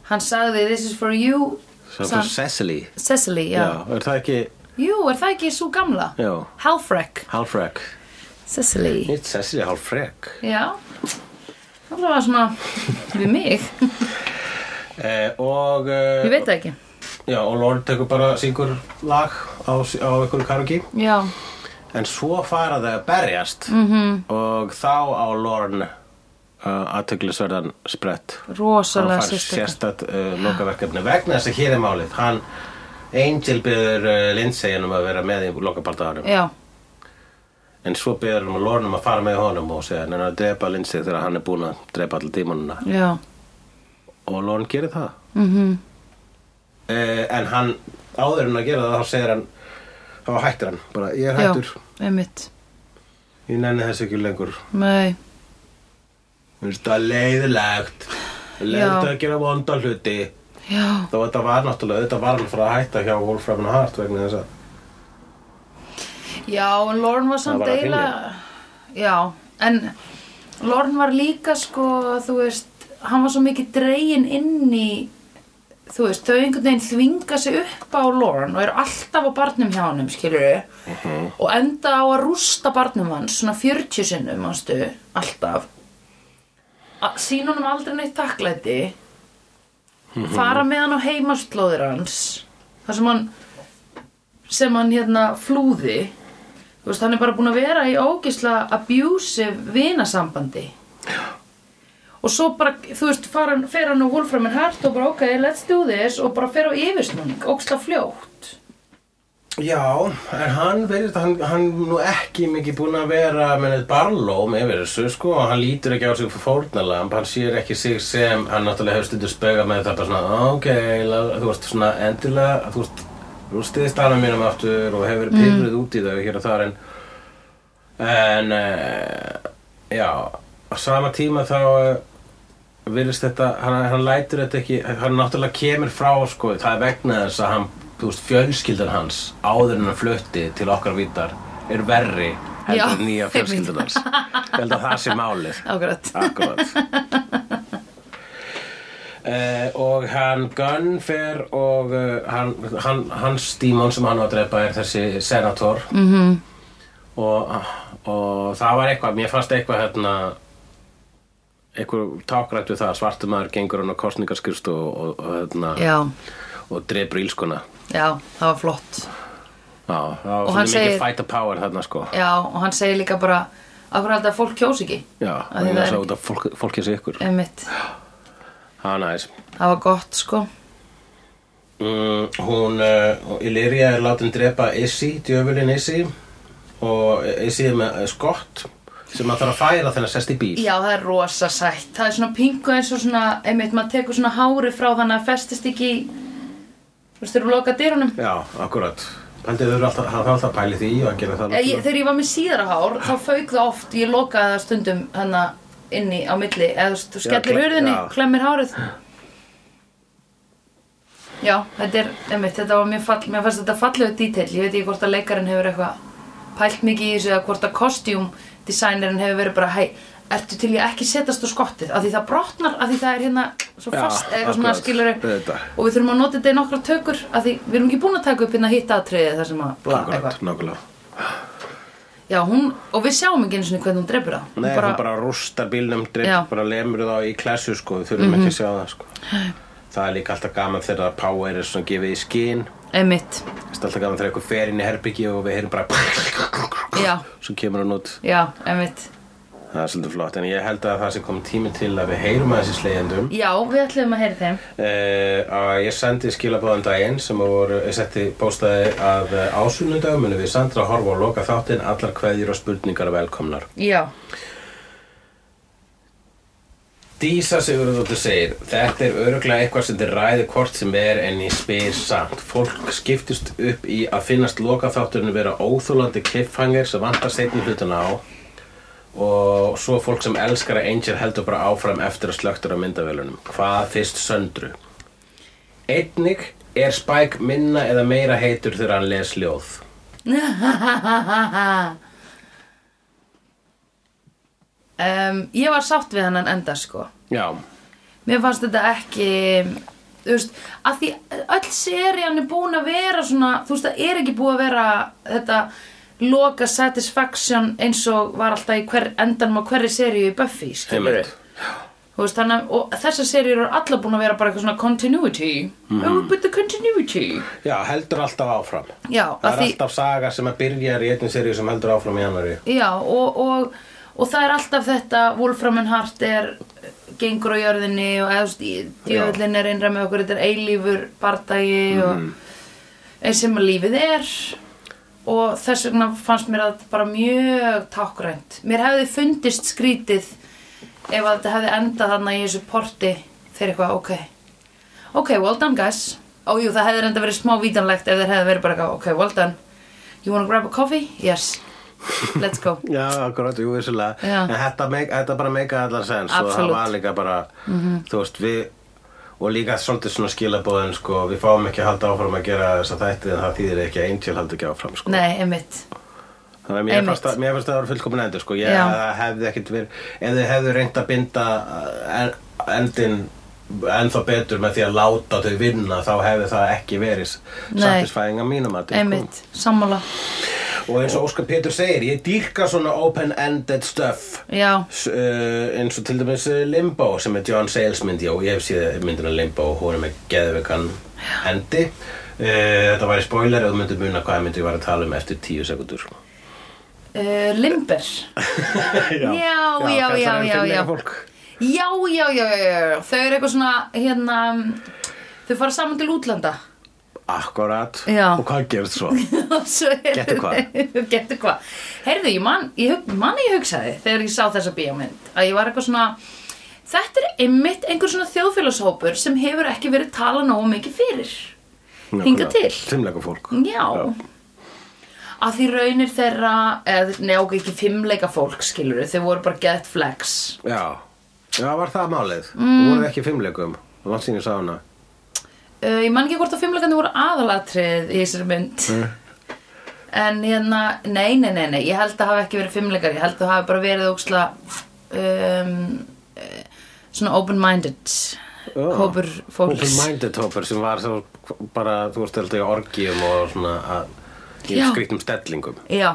A: Hann sagði, this is for you
B: sem
A: Sa-
B: fyrir Cecily?
A: Cecily, já.
B: er það ekki
A: Jú, er það ekki svo gamla?
B: Já.
A: Halfrek,
B: Halfrek?
A: Cecily
B: Nýtt Cecily Halfrek.
A: Já, það var svona við mig,
B: Eh, og... Eh,
A: ég veit það ekki
B: Já, og Lord tekur bara syngur lag á, á einhverju karaoke
A: Já,
B: en svo fara þau að berjast
A: Mhm.
B: -hmm. og þá á Lorne uh, aðtöklisverðan sprett hann
A: rosalega
B: fær
A: sérstakar
B: sérstætt uh, lokaverkefni vegna þess að hér er málið hann Angel byrður uh, Lindsay um að vera með í lokabartaðanum
A: Já,
B: en svo byrður hann um Lorne um að fara með honum og segja hann er að drepa Lindsay þegar hann er búinn að drepa allir dímonuna
A: já, Mhm.
B: og Lorne gerir það mm -hmm. en hann áður en að gera það þá segir hann þá hættir hann bara ég er
A: já,
B: hættur
A: einmitt
B: Ég nenni þessu ekki lengur.
A: Nei,
B: Mér finnst það leiðilegt. Leiðilegt
A: Já.
B: að gera vonda hluti.
A: já,
B: Þá þetta var náttúrulega, þetta var hann frá að hætta hjá Wolfram and Hart vegna þess að
A: já, en Lorne var samt
B: var að
A: eiginlega Já, en Lorne var líka sko, þú veist Hann var svo mikið dregin inn í Þú veist, þau einhvern veginn þvinga sig upp á Lorne Og eru alltaf á barnum hjá honum, skilur Og enda á að rústa barnum hans Svona 40 sinnum, manstu, alltaf Að Sýna honum aldrei neitt takklæti Fara með hann á heimaslóðir hans Þar sem hann sem hann hérna flúði þú veist, hann er bara búin að vera í ógisla abusive vinasambandi og svo bara, þú veist, fara, hann- fer hann og Wolfram and Hart og bara, ok, let's do this og bara fer á yfirsnúning, ógisla fljótt
B: Já, en hann verið, hann, hann nú ekki mikið búinn að vera með neitt barlóm yfir þessu, sko, og hann lítur ekki á sig fyrir fórnalamb, hann sér ekki sig sem, hann náttúrulega hefur stundur spauga með það bara svona, ok, la- þú veist, svona endilega, þú veist, rústiðist alveg mínum aftur og hefur verið pyrruð út í þau hér og þar, en, en, e, já, á sama tíma þá eh, virðist þetta, hann, hann lætur þetta ekki hann náttúrulega kemur frá sko, það er vegna þess að hann, þú veist, fjölskyldan hans áður en hann flutti til okkar vítar er verri
A: Já,
B: heldur en nýja fjölskyldan hans ég held að það sé málið
A: Akkurat.
B: Akkurat. Eh, og hann Gunn fer og uh, hann, hann, hans dímon sem hann á að drepa er þessi senator -hmm.
A: Mhm.
B: og, og það var eitthvað, mér fannst eitthvað hérna eitthvað tákrætt við það að svartur maður gengur hann á kostningarskyrst og, og, og, hérna,
A: já,
B: og drepur ílskuna
A: já, það var flott
B: Já, það var
A: Og hann
B: svona mikið
A: segir-
B: fight the power þarna sko
A: já, og hann segir líka bara akkur held að fólk kjósi ekki
B: Já,
A: Af því
B: það
A: það
B: er
A: er
B: svo út af fólk, fólkið sér ykkur
A: einmitt,
B: Það er næs
A: það var gott sko
B: Mm, hún, uh, Illyria er látin drepa Issy, djöfulinn Issy og Issy er með eh, skott sem hann þarf að færa þegar hann sest í bíl
A: Já, það er rosa sætt. Það er svona pingu eins og svona, einmitt, maður tekur svona hári frá þannig að það festist ekki í, þú veist, þegar þú loka dyrunum.
B: Já, akkurat Paldið þau eru alltaf, hann þarf alltaf að pæli því og hann gerir
A: Eh,
B: það
A: Ég,
B: náttúrulega.
A: þegar ég var með síðara hár, þá fauk það oft, ég lokaði það stundum hana inni á milli, eða þú veist, þú skellir
B: klem-
A: hurðinni,
B: já.
A: klemmir hárið. Já, þetta er, einmitt, þetta var mjög fall, mér fannst þetta fallegu dítill, ég veit ekki hvort að leikarinn hefur eitthvað pælt mikið í þessu eða hvort að kostjúmdesignerinn hefur verið bara, hei, ertu til ég ekki setast á skottið, af því það brotnar, af því það er hérna svo
B: Já,
A: fast, eða eitthvað svona
B: akkurat,
A: skilur
B: auðvitað.
A: og við þurfum að nota þetta í nokkra tökur, af því við erum ekki búin að taka upp hérna hitt atriðið þar sem að, bla,
B: Akkurat, nákvæmlega
A: Já, hún, og við sjáum ekki eins og hvernig hún drefur það.
B: Nei, hún bara rústar bílnum, dreip,
A: Já. Mhm.
B: bara lemur þá í klessu sko, við þurfum ekki að sjá það sko Það er líka alltaf gaman þegar Power er svona gefið í skinn
A: Einmitt,
B: Það er alltaf gaman þegar eitthvað fer inn í herbyggi og við heyrum bara
A: Já.
B: Svo kemur hann út
A: já, einmitt.
B: Það er svolítið flott, en ég held að það sé komið tími til að við heyrum að þessi slegjendum.
A: Já, við ætlum að heyra þeim.
B: Uh, að ég sendi skilabóðan daginn sem voru, ég setti póstaði að uh, ásunnundag munum við Sandra horfa og loka þáttinn allar kveðjur og spurningar velkomnar.
A: Já,
B: Dísa Sigurðardóttir segir Þetta er öruglega eitthvað sem þið ræði hvort sem er en ég spyr samt Fólk skiptist upp í að finnast lokaþátturinn vera óþólandi cliffhanger sem vantar setni hlutuna á og svo fólk sem elskar að Angel heldur bara áfram eftir að slöktur á myndavélunum Hvað fyrst söndru? Einnig er Spike minna eða meira heitur þegar hann les ljóð
A: um, ég var sátt við hennan enda, sko.
B: Já,
A: Mér fannst þetta ekki, þú veist, að því öll serían er búin að vera svona, þú veist, það er ekki búið að vera þetta loka satisfaction eins og var alltaf í hver, endanum á hverri seríu í Buffy, skilur
B: heimilt
A: Þú veist, þannig, að- og þessar serjur eru allar búin að vera bara eitthvað svona continuity oh but the continuity
B: Já, heldur alltaf áfram
A: já,
B: Það
A: að
B: er
A: því,
B: alltaf saga sem að byrjar í einnig seríu sem heldur áfram í annari
A: já og, og, og það er alltaf þetta Wolfram and Hart er gengur á jörðinni og eða þú veist, djöfullin er einra með okkur þetta er eilífur bardagi og eins sem að lífið er og þess vegna fannst mér að bara mjög tákrænt mér hefði fundist skrítið ef að þetta hefði endað þarna í þessu porti þegar eitthvað, ok ok, well done guys og jú, það hefði enda verið smá vítanlegt ef þeir hefði verið bara eitthvað, ok, well done you wanna grab a coffee? yes let's go
B: Já, akkurat, jú, vissulega
A: Já.
B: En þetta, meik, þetta bara meika allar sens Og það
A: Absolutt. Mhm.
B: var líka bara, þú veist, við Og líka svolítið svona skilabóðin, sko Við fáum ekki að halda áfram að gera þessa þætti En það þýðir ekki að Angel haldi ekki áfram, sko
A: Nei, einmitt
B: Þannig að mér
A: Einmitt.
B: fannst það- mér fannst það að vera fullkomin endur sko. Ég
A: Já.
B: það hefði ekkert verið Ef þau hefðu reynt að binda uh, en- endin ennþá betur með því að láta þau vinna þá hefði það ekki verið
A: Nei.
B: satisfæðing að mínum að
A: Einmitt, sammála
B: og eins og Óskar Pétur segir ég dýrka svona open-ended stuff
A: Já,
B: S- uh, eins og til dæmis uh, Limbo sem er John Sayles myndi og ég hef séð myndina Limbo og hún er með geðveikan endi uh, þetta væri spoiler og þú myndir muna hvað myndi ég var að tala um eftir tíu sekundur sko.
A: uh, limber Já, já, já,
B: kallar hann
A: já, já.
B: fimleika fólk.
A: já, já, já, já, já, já Þau eru eitthvað svona, hérna Þau fara saman til útlanda
B: Akkurat,
A: Já.
B: og hvað gerst svo? Gettu
A: Getur
B: hvað?
A: Getur hvað Heyrðu, ég man, ég, hug- man að ég hugsaði Þegar ég sá þessa bíómynd Að ég var eitthvað svona Þetta er einmitt einhver svona þjóðfélagshópur Sem hefur ekki verið tala nógu mikið fyrir Hingað til.
B: Fimleika fólk
A: Já Að því raunir þeirra eð, Nei, ok, ekki fimmleika fólk skilur Þau voru bara get flex
B: Já, já var það málið mm. Voru ekki í fimleikum Það var sín ég sá hana
A: uh, Ég man ekki hvort að fimmleikandi voru aðalatrið Í þessari mynd En hérna, nei, nei, nei, nei Ég held að hafa ekki verið fimmleikar Ég held að það hafi bara verið óksla um, eh, Svona open-minded
B: Já.
A: Hópur fólks
B: Open-minded hópur sem var svo bara, þú veist, held ég orgíum og svona að, í
A: Já.
B: skrýttum stellingum
A: Já,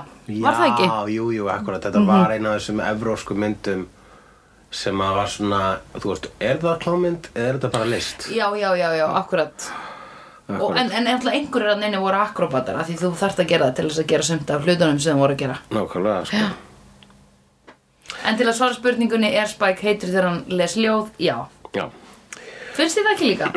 A: var það ekki? Mhm.
B: Já, jú, jú, akkurat, þetta var eina af þessum evrósku myndum sem að var svona, þú veist, er það klámynd eða er þetta bara list?
A: Já, já, já, já, akkurat Og, en, en alltaf einhverjir að neina voru akrobatar af því þú þarft að gera það til þess að gera sumt af hlutunum sem þú voru að gera
B: Nákvæmlega, sko
A: En til að svara spurningunni er Spike heitur þegar hann les ljóð? Já.
B: Já.
A: Finnst þið það ekki líka?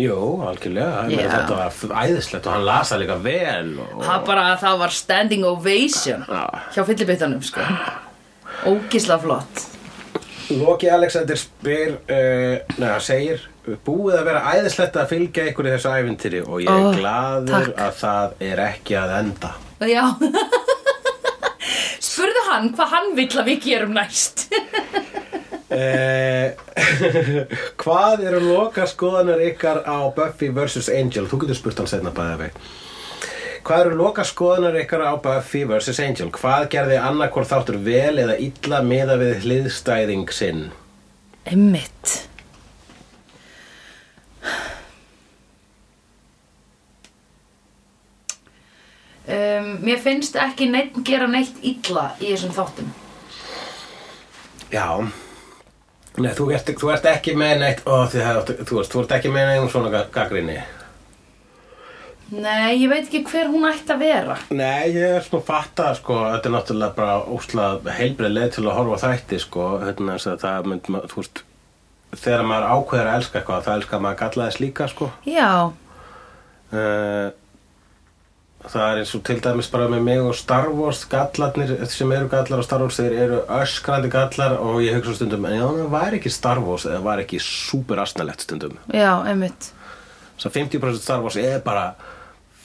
B: Jú, algjörlega, yeah.
A: Já.
B: þetta var f- æðislegt og hann lasa líka vel og...
A: Það bara að það var standing ovation
B: Já.
A: hjá fyllibittanum sko. Ógisla flott.
B: Loki Alexander spyr, uh, neða, segir búið að vera æðislegt að fylgja ykkur í þessu ævintýri og ég
A: Ó,
B: er glaður
A: takk.
B: að það er ekki að enda
A: Já. Spurðu hann hvað hann vill að við gerum næst.
B: uh, Eh, Hvað eru loka skoðanar ykkar á Buffy vs. Angel? Þú getur spurt hann setna bæða vei Hvað eru loka skoðanar ykkar á Buffy vs. Angel? Hvað gerði annarkvort þáttur vel eða illa meða við hliðstæðing sinn?
A: Einmitt. Um, mér finnst ekki neitt gera neitt illa í þessum þáttum.
B: Já Nei, þú ert, þú ert ekki með neitt ó, þið, hafði- þú, veist, þú ert ekki með neitt svona ga- gaggrinni
A: Nei, ég veit ekki hver hún ætti að vera.
B: Nei, ég er svona fatta sko, þetta er náttúrulega bara ósla heilbrið leið til að horfa á þætti sko, hérna, þess að það mynd, ma- þú veist þegar maður ákveður að elska eitthvað þá elskar maður gallaðis líka sko
A: Já,
B: Eh, Það er eins og til dæmis bara með mig og Star Wars gallarnir sem eru gallar á Star Wars þeir eru öskrandi gallar og ég hugsa stundum en já, það var ekki Star Wars eða var ekki super asnalegt stundum
A: já, einmitt
B: Svo 50% Star Wars er bara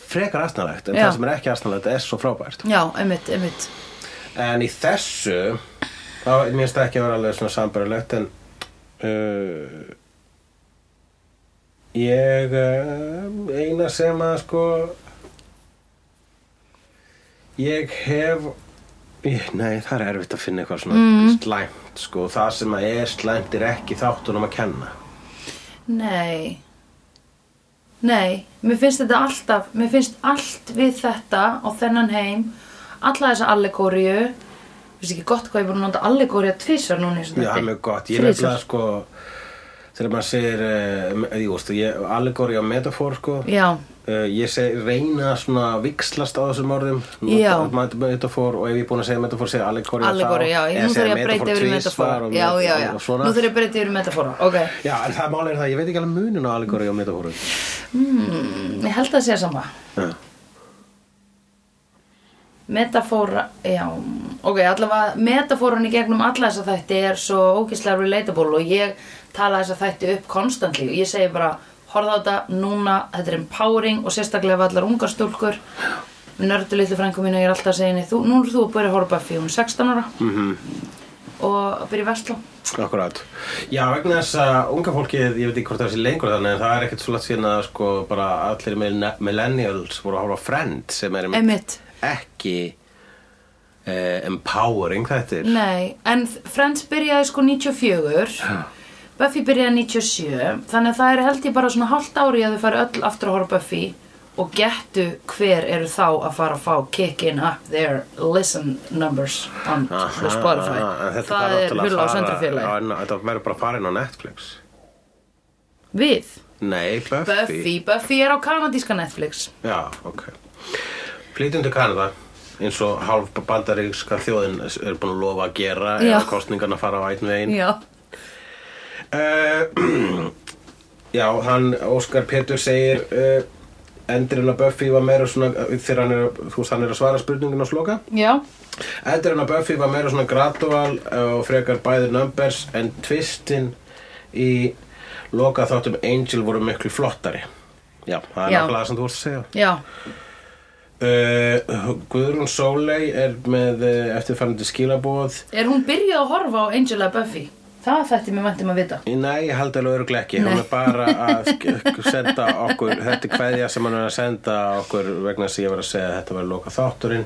B: frekar asnalegt en
A: Já.
B: það sem er ekki asnalegt er svo frábært
A: Já, einmitt, einmitt
B: en í þessu þá minnst það ekki að vera alveg svona sambarulegt en uh, ég uh, eina sem að sko ég hef ég, nei það er erfitt að finna eitthvað svona slæmt sko það sem að er slæmt er ekki þáttunum að kenna
A: Nei Nei, mér finnst þetta alltaf Mér finnst allt við þetta og þennan heim Alla þessa allegóriu Finnst ekki gott hvað ég er búin að nota allegóriu að tvisar núna í þessum
B: Já,
A: þætti.
B: mjög gott. Ég
A: Þrisvar.
B: nefnilega sko, þegar maður segir, uh, jú, veist, ég, allegori og metafor, sko,
A: Já,
B: uh, ég seg, reyna svona að vikslast á þessum orðum,
A: Já.
B: Nota metafor, og ef ég er búin að segja metafor, segja allegori og
A: allegóriu, já Nú þarf ég að breyta yfir í metafóra Já, já, já,
B: og
A: nú
B: svona.
A: þarf ég að breyta yfir í metafóra Ok,
B: Já, en það mál er það, ég veit ekki alveg munin á allegori og metaforu.
A: ég held að það sé sama
B: Já.
A: Metafóra, já, ok, allavega metafóran í gegnum alla þessa þætti er svo ógeðslega relatable og ég tala þessa þætti upp konstantli og ég segi bara, horfða á þetta núna, þetta er empowering og sérstaklega við allar ungar stúlkur nördu litlu frængu mínu, ég er alltaf að segja henni þú, nú er þú að byrja að horfa Buffy, hún er 16 ára -hmm. og að byrja í Vestló
B: Akkurát. Já, vegna þess að unga fólkið, ég veit ekki hvort það sé lengur þannig, en það er ekkert svo langt síðan að sko bara allir millen- millennials voru að horfa á Friends sem er einmitt
A: Emmitt,
B: ekki eh, empowering þetta er.
A: nei, en Friends byrjaði sko 94 Buffy byrjaði 97 þannig að það er held ég bara svona hálft ári að þau fari öll aftur að horfa á Buffy og gettu hver eru þá að fara að fá kick in up their listen numbers on the Spotify
B: en þetta
A: það
B: þarf
A: er
B: náttúrulega
A: hulla á
B: að fara-
A: söndrafélagi
B: Já, en Þetta verður bara að fara inn á Netflix.
A: Við,
B: Nei, Buffy.
A: Buffy, Buffy er á kanadíska Netflix
B: Já, ok. Flytjum til Kanada eins og hálf bandaríkska þjóðin er búin að lofa að gera
A: Já.
B: eða kostningarna fara á einn veginn.
A: Já,
B: Uh, já, hann Óskar Pétur segir uh, endurinn að Buffy var meira svona þegar hann er, þú veist, hann er að svara spurningin og sloka
A: já,
B: endurinn að Buffy var meira svona gradual uh, og frekar bæði numbers en tvistin í loka þáttum Angel voru miklu flottari Já, það er
A: Já.
B: nákvæmlega það sem þú vorst að segja
A: já,
B: Uh, Guðrún Sóley er með uh, eftirfærandi skilabóð
A: Er hún byrjuð að horfa á Angela Buffy? Það þætti mér vantum að vita.
B: Nei, ég held alveg örugglega ekki Hún
A: Nei.
B: er bara að sk- senda okkur Þetta er kveðja sem hann er að senda okkur vegna þess að ég var að segja að þetta var loka þátturinn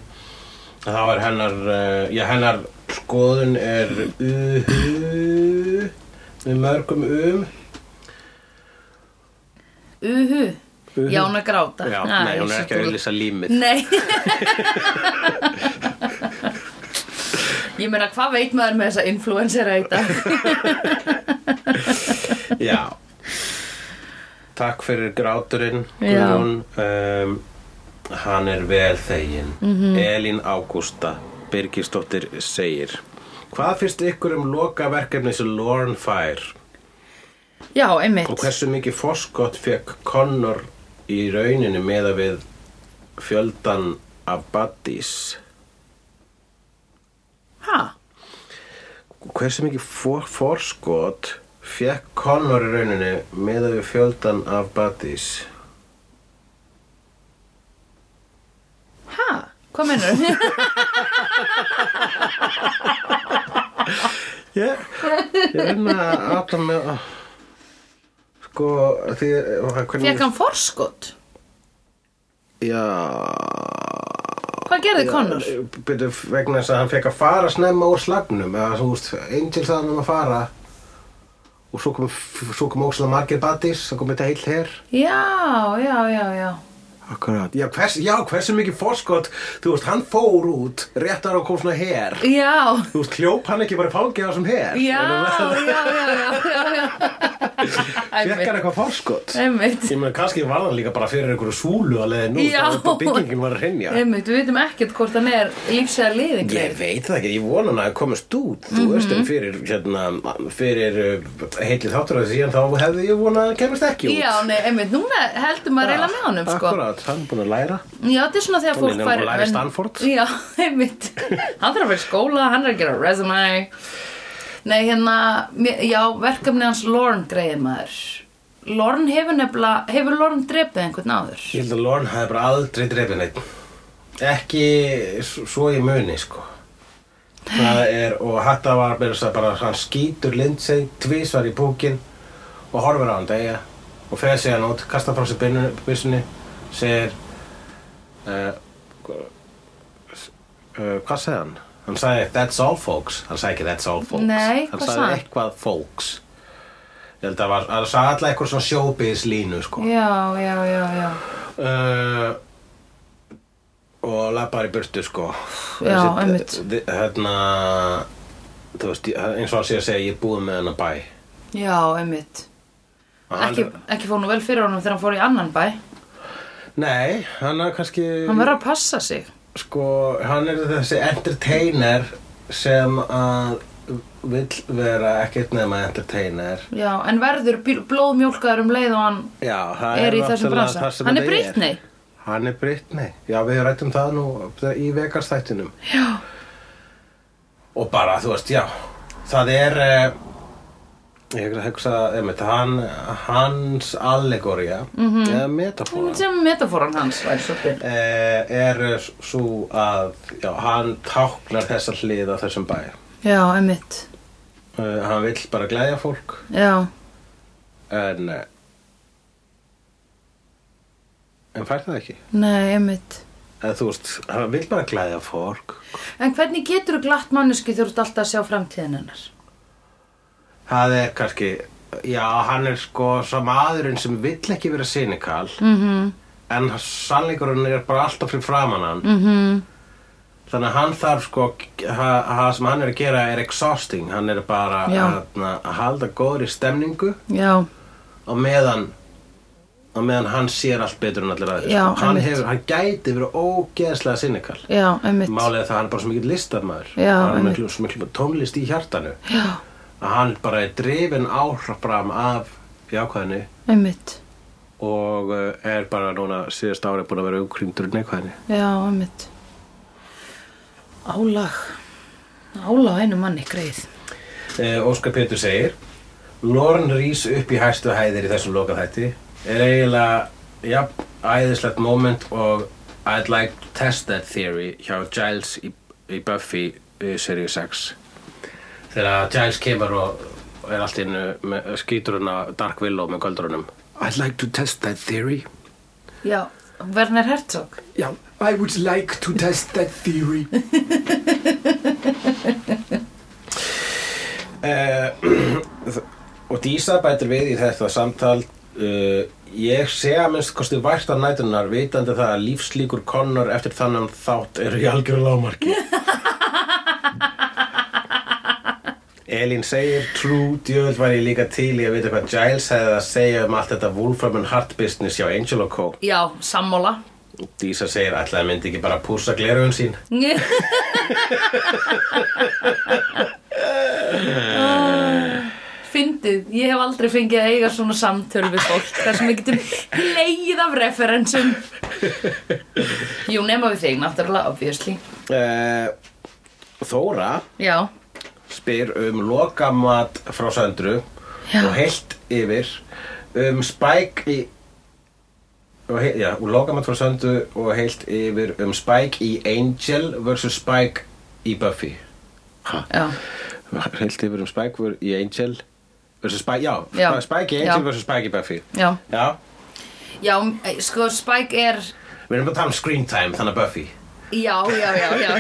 B: Það var hennar uh, Já, hennar skoðun er uhu með mörgum um
A: Uhu.
B: Uhu.
A: Já, hún er að gráta.
B: Já,
A: Ah,
B: nei, hún
A: ég
B: er
A: sé
B: ekki að
A: þú-
B: auðlýsa límið
A: Nei. ég meina, hvað veit maður með þessa influencera í dag?
B: Já Takk fyrir gráturinn
A: Já.
B: Guðrún um, Hann er vel þegin Elín Ágústa Birgisdóttir segir Hvað finnst ykkur um lokaverkefni sem Lorne fær
A: Já,
B: og
A: einmitt.
B: hversu mikið forskott fekk Connor í rauninu með að við fjöldan af buddies
A: Hæ?
B: Hversu mikið for, forskott fekk Connor í rauninu með að við fjöldan af buddies
A: Hæ? Hvað mennur?
B: Ég, ég reyna að átta með að sko því hvernig,
A: Fekk hann forskot?
B: já
A: Hvað gerði Connor?
B: byrju vegna þess að hann fekk að fara snemma úr slagnum eða þú veist Angel sagði hann um að fara og svo kom, svo kom óslega margir badis það kom þetta heill her
A: Já, já, já, já.
B: Akkurat. Já, hvers, já hversu mikið fórskot þú veist hann fór út rétt ára og kom svona her
A: Já.
B: þú veist hljóp hann ekki bara í fangið á þessum her
A: Já,
B: En
A: já, já, já, já, já.
B: hann fekk hann
A: Einmitt.
B: eitthvað fórskot
A: Einmitt.
B: Ég meina, kannski var hann líka bara fyrir einhverju súlu að leiðin út
A: Já.
B: þá þetta byggingin var að hreinja.
A: Einmitt, við veitum ekkert hvort hann er lífsæða liðing
B: Ég veit það ekki, ég vona hann að komast út, þú veist,
A: Mhm.
B: en fyrir, hérna, fyrir uh, heilið þátturöðu síðan þá hefði ég vonað að hann kemast ekki út.
A: Já, nei, einmitt, núna heldur maður reyla með honum, sko
B: Akkurát, hann er búin að læra.
A: Já, þetta er svona þegar
B: Hann er
A: fólk
B: nú að læra í Stanford.
A: Já, einmitt Hann þarf að vera í skóla, hann er að gera resume Nei, hérna, mér- já, verkefni hans Lorne greiði maður Lorne hefur nefnilega, hefur Lorne drepið einhvern áður?
B: Ég held að Lorne hefði bara aldrei drefið neitt. Ekki s- svo ég muni, sko. Það er, og þetta var meira þess að bara, hann skýtur Lindsay tvísvar í búkin og horfir á hann degja og fer síðan út, kastar frá sér byrnu- byssunni, segir, uh, uh, hvað segði hann? Hann sagði, that's all folks. Hann sagði ekki, that's all folks.
A: Nei,
B: hann
A: hvað
B: sagði
A: sagði hann?
B: eitthvað folks. Ég held að var, hann sagði alltaf eitthvað svona showbiz línu, sko
A: Já, já, já, já
B: uh, og lappar í burtu sko
A: Já,
B: Þessi-
A: einmitt.
B: þi- hérna þú veist, ég- eins og hann sé að segja ég er búið með hennar bæ
A: Já, einmitt
B: Og hann,
A: Ekki, ekki fór nú vel fyrir honum þegar hann fór í annan bæ
B: nei, hann er kannski
A: Hann verður að passa sig
B: sko, hann er þessi entertainer sem að vill vera ekkert nema entertainer
A: Já, en verður bl- blóðmjólkaður um leið og hann
B: Já, það
A: er í þessum
B: náttúrulega
A: bransa
B: það sem
A: hann er
B: þetta
A: Britney
B: Hann er Britney. Já, við rættum það nú í vegarstættinum. Já. Og bara, þú veist, já, það er, eh, Ég hugsa, einmitt, hann, hans allegoria eða metafóra
A: sem metafóran hans væri svolítið
B: eh, er svo að já, hann táknar þessa hlið á þessum bæ
A: já, einmitt
B: eh, hann vill bara glæðja fólk
A: já,
B: en eh, en fær það ekki
A: nei, einmitt
B: eða þú veist, hann vill bara glæðja fólk
A: en hvernig getur þú glatt manneski þú ert alltaf að sjá framtíðin hennar
B: það er kannski já, hann er sko svo maðurinn sem vill ekki vera sinikal
A: mhm,
B: en sannleikurinn er bara alltaf fyrir framan hann
A: mhm,
B: Þannig að hann þarf sko, ha- það sem hann er að gera er exhausting, hann er bara
A: Já.
B: að, að halda góðri stemningu
A: já
B: og meðan, og meðan hann sér allt betur en allir aðeins.
A: Já,
B: hann,
A: einmitt.
B: hefur, hann gæti verið ógeðslega sinnikal.
A: já, einmitt
B: Málið er það að hann er bara svo mikið listamaður,
A: Já,
B: hann er
A: einmitt.
B: miklu, svo miklu tónlist í hjartanu.
A: já,
B: Að hann bara er drifin áhrafram af jákvæðinu
A: einmitt
B: og eh, er bara núna síðast árið búin að vera umkrýmdur neikvæðinu.
A: Já, einmitt Álag Álag á einu manni greið
B: Eh, Óskar Pétur segir Lorn rís upp í hæstu hæðir í þessum lokaþætti er eiginlega jafn æðislegt moment og I'd like to test that theory hjá Giles í, í Buffy uh, seríu 6 þegar Giles kemur og og er allt innu með skýtur hún að Dark Willow með göldrunum I'd like to test that theory
A: Já, Werner Herzog
C: Yeah, I would like to test that theory.
B: uh, og Dísa bætir við í þetta samtal uh, ég sé að minnst kosti værtar nætunar vitandi það að lífslíkur konar eftir þannig þátt eru í algjöru lámarki Elín segir trú djöðl var ég líka til í að vita hvað Giles hefði að segja um allt þetta Wolfram and Heart business hjá Angel Co.
A: Já, sammála
B: Dísa segir ætlaði að myndi ekki bara að pússa glerugun sín
A: Fyndið, ég hef aldrei fengið að eiga svona samtöl við fólk þar sem við getum leið af referensum Jú, nema við þig, náttúrulega, obviously
B: uh, Þóra
A: Já,
B: spyr um lokamat frá Söndru
A: Já.
B: og heilt yfir um spæk í og he, já, og lokamat frá Söndru og heilt yfir um spæk í Angel versus spæk í Buffy
A: já,
B: heilt yfir um spæk í Angel versus spæk, já,
A: Já.
B: spæk í Angel
A: Já.
B: versus spæk í Buffy
A: já
B: já,
A: Já, sko, Spike er
B: við erum bara að tala um screen time þannig að Buffy
A: Já, já, já, já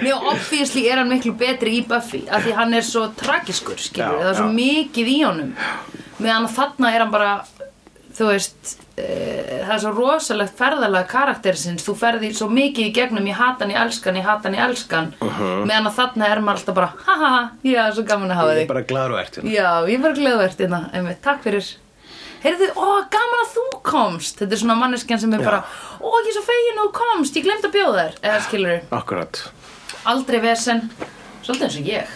A: Mjög obviously er hann miklu betri í Buffy af því hann er svo tragiskur, skilur
B: Já,
A: það er svo
B: já.
A: mikið í honum meðan þarna er hann bara þú veist, uh, það er svo rosalegt ferðalega karakterisins þú ferði svo mikið í gegnum, ég hata hann, ég elskan ég hata hann, ég elskan
B: Uh-huh.
A: meðan að þarna er maður alltaf bara, ha ha ha já, svo gaman að hafa
B: ég
A: þig
B: er bara gladur og ert hérna
A: Já, ég var gleðvert innan, einmitt, takk fyrir Heyrðu, ó, gaman að þú komst Þetta er svona manneskjan sem er
B: Já.
A: bara Ó, ég er svo fegin að þú komst, ég glemt að bjóða þér Eða skilur
B: akkurat
A: aldrei vesen Svolítið eins og ég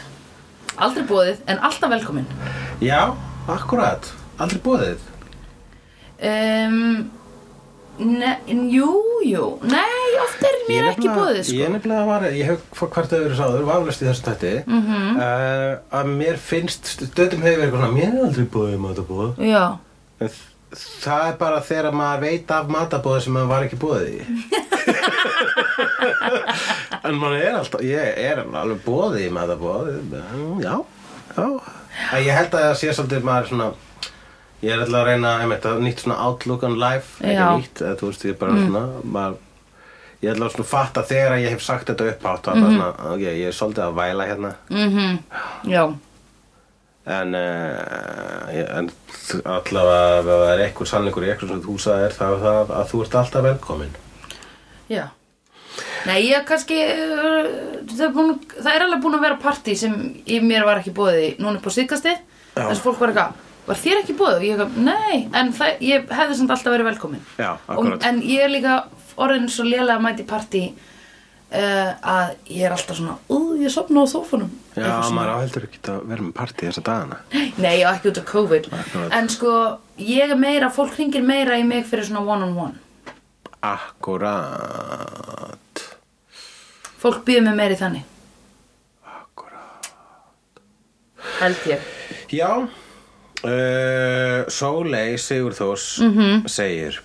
A: Aldrei bóðið, en alltaf velkomin
B: já, akkurat, aldrei bóðið
A: um, ne, Jú, jú Nei, oft er mér ekki
B: nefnilega-
A: bóðið sko.
B: Ég nefnilega var, ég hef fór hvert öðru sáður vaflust í þessu tætti -hmm.
A: Mhm.
B: uh, að mér finnst, stöðum hefur verið eitthvað svona, mér er aldrei búið um að búið
A: Já,
B: en þ- það er bara þegar maður veit af matabóði sem maður var ekki bóðið í en maður er alltaf ég er alveg bóðið í matabóði já, já en ég held að það sé svolítið maður svona ég er alltaf að reyna einmitt, að nýtt svona outlook on life ekki
A: Já.
B: nýtt, eða, þú veist ég er bara svona maður Ég ætla að svona fatta þegar að ég hef sagt þetta upphátt mm -hmm. svona, ok, ég er svolítið að væla hérna
A: mhm. já,
B: En, uh, en þ- allavega ef það er eitthvað sannleikur í eitthvað sem þú sagðir það er það að þú ert alltaf velkomin.
A: já Nei, ég kannski, uh, það er, búin, það er alveg búin að vera partí sem í mér var ekki bóðið í núna upp á síðkasti
B: Já.
A: þess að fólk var eitthvað, var þér ekki bóðið? Og ég eitthvað, nei, en það, ég hefði samt alltaf verið velkomin
B: Já,
A: og,
B: akkúrat.
A: En ég er líka orðin svo lélega að mæti partí uh, að ég er alltaf svona, ú, ég sopna á sófanum
B: Já, maður áheldur ekki að vera með partí þessa dagana.
A: Nei, og ekki út af COVID
B: Akkúrat.
A: En sko, ég er meira, fólk hringir meira í mig fyrir svona one on one
B: Akkurat.
A: Fólk býður mig meira í þannig,
B: Akkurat.
A: held ég
B: Já, Uh, Sólei Sigurþós segir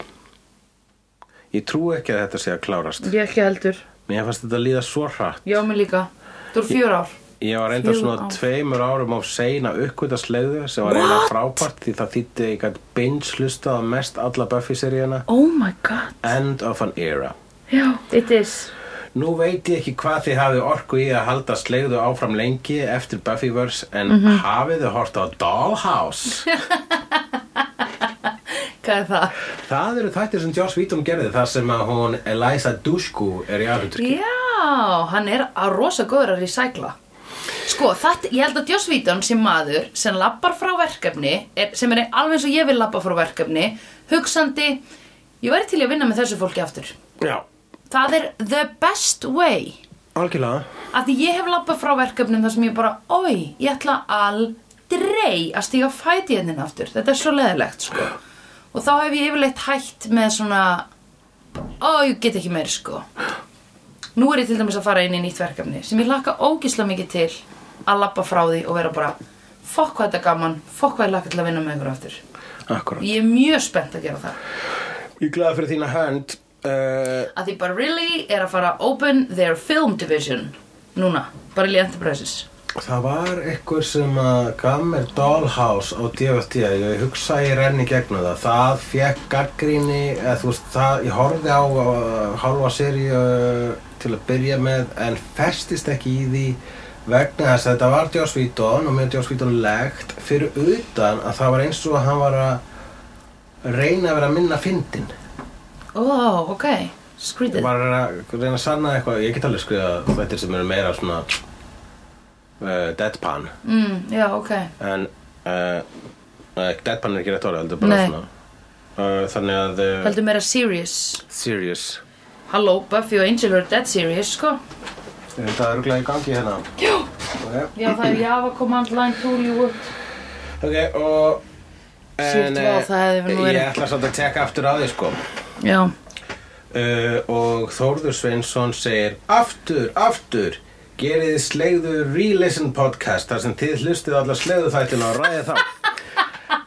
B: Ég trú ekki að þetta sé að klárast
A: Ég ekki heldur.
B: Mér fannst þetta líða svo hratt
A: Já, mig líka. Þú eru fjör ár.
B: Ég var reyndar
A: Fjögur
B: svona
A: ár.
B: tveimur árum á seina uppkvitaðsleiðu sem var reyna frábært því það þýtti að ég gætt binge hlustað á mest alla Buffy-seríuna
A: Oh my god.
B: End of an Era
A: Já, it is.
B: Nú veit ég ekki hvað þið hafið orku í að halda slegðu áfram lengi eftir Buffyverse en
A: Mhm.
B: hafið þið hort á Dollhouse.
A: Hvað er það?
B: það eru þættir sem Joss Whedon gerði þar sem að hún Eliza Dushku er í aðhundur.
A: Já, hann er að rosa góður að recycla. Sko, þetta, ég held að Joss Whedon sem maður sem lappar frá verkefni, er, sem er alveg eins og ég vil lappa frá verkefni, hugsandi, ég væri til í að vinna með þessu fólki aftur.
B: Já,
A: Það er the best way.
B: algjörlega.
A: Af því ég hef lappað frá verkefnum þar sem ég bara, oi, ég ætla aldrei að stíga fæti hennin aftur. Þetta er svo leðilegt, sko. Og þá hef ég yfirleitt hætt með svona, ó, ég get ekki meir, sko. Nú er ég til dæmis að fara inn í nýtt verkefni sem ég laka ógislega mikið til að lappa frá því og vera bara, fokk hvað þetta er gaman, fokk hvað ég laka til að vinna með ykkur aftur.
B: Akkurat.
A: Ég er mjög spennt að gera það.
B: Ég er glæði fyrir þína hönd. Uh,
A: Að því bara really er að fara að open their film division núna, bara í Enterprises.
B: það var eitthvað sem að gaf mér Dollhouse á DFT ég hugsa að ég renni í gegnum það. Það fekk gaggríni, eða þú veist, það, ég horfði á uh, halva seríu eh, til að byrja með en festist ekki í því vegna þess að þetta var Joss Whedon og með Joss Whedon legt fyrir utan að það var eins og að hann var að reyna að vera minna fyndin.
A: Ó, ok,
B: Ég
A: skrítið
B: var að reyna að sanna eitthvað, ég get alveg skrifað þetta sem eru meira svona uh, deadpan
A: mm, Já, ok
B: en uh, uh, deadpan er ekki rétt orðið, heldur bara
A: Nei.
B: svona uh, Þannig að uh,
A: Heldur meira serious
B: serious
A: Halló, Buffy og Angel eru dead serious, sko
B: Er þetta örgulega í gangi hérna?
A: Já,
B: Ok,
A: já það er Java Command Line Tool you would
B: okay og
A: Sýrt, vá,
B: eh,
A: það hefði nú verið-
B: ég ætla svolítið að tekka aftur á því sko
A: Já
B: uh, og Þórður Sveinsson segir aftur, aftur gerið slegðu re-listen podcast þar sem þið hlustið alla slegðu þættina og ræðið þá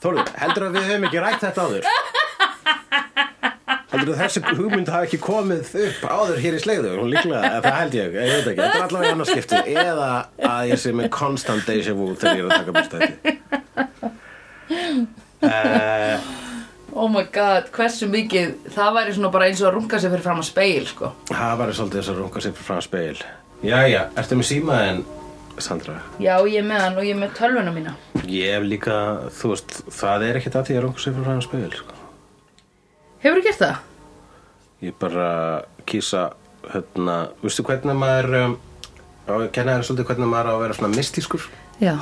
B: Þórður, heldur að við höfum ekki rætt þetta áður? Heldur að þessi hugmynd hafi ekki komið upp áður hér í slegðu? Hún líklega, eða það held ég, ég veit ekki, þetta er allavega annarskipti eða að ég sé með constant deja vu þegar ég er að taka besta þetta uh,
A: Oh my god, hversu mikið Það væri svona bara eins og að runga sig fyrir fram að speil, sko
B: Það var svolítið þess að runga sér frá speil Jæja, ertu með símaðin, Sandra?
A: Já, ég er með hann og ég er með tölvuna mína
B: Ég hef líka, þú veist, það er ekkert að því að runga sér frá speil sko.
A: Hefurðu gert það?
B: Ég bara kýsa, hérna, veistu hvernig maður um, á, Kenna þér svolítið hvernig maður á að vera svona mystískur
A: Já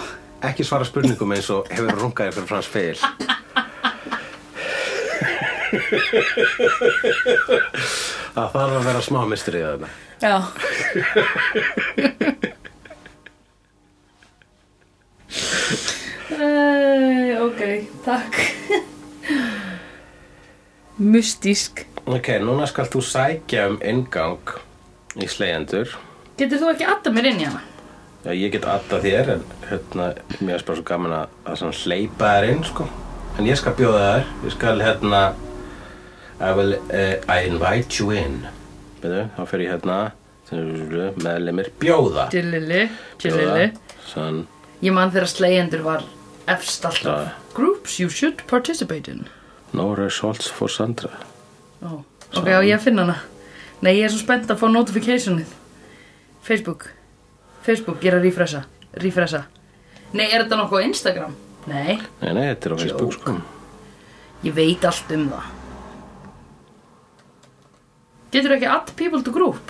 B: Ekki svara spurningum eins og hefur rungað þér fyrir frá speil Það þarf að vera smá mystrið þarna
A: Já Uh, ok, takk Mystísk
B: Ok, núna skal þú sækja um inngang í slegjendur.
A: Getur þú ekki atta mér inn í hana?
B: Já, ég get atta þér, en hérna, mér er bara svo gaman að, að svona hleypa þær inn, sko. En ég skal bjóða þær, ég skal hérna, I will, uh, I invite you in. Veitu, þá fer ég hérna, meðlemir, bjóða.
A: Tjölili,
B: Bjóða,
A: tjölili
B: sann,
A: Ég man þegar slegjendur var efst alltaf
B: Já.
A: Groups you should participate in
B: no results for Sandra.
A: Ó, Ok, á ég að finna hana Nei, ég er svo spennt að fá notificationið Facebook Facebook, ég er að refresha Refresha Nei, er þetta nokkuð á Instagram? Nei,
B: Nei, nei, þetta er á Facebook, sko.
A: ég veit allt um það Getur ekki add people to group?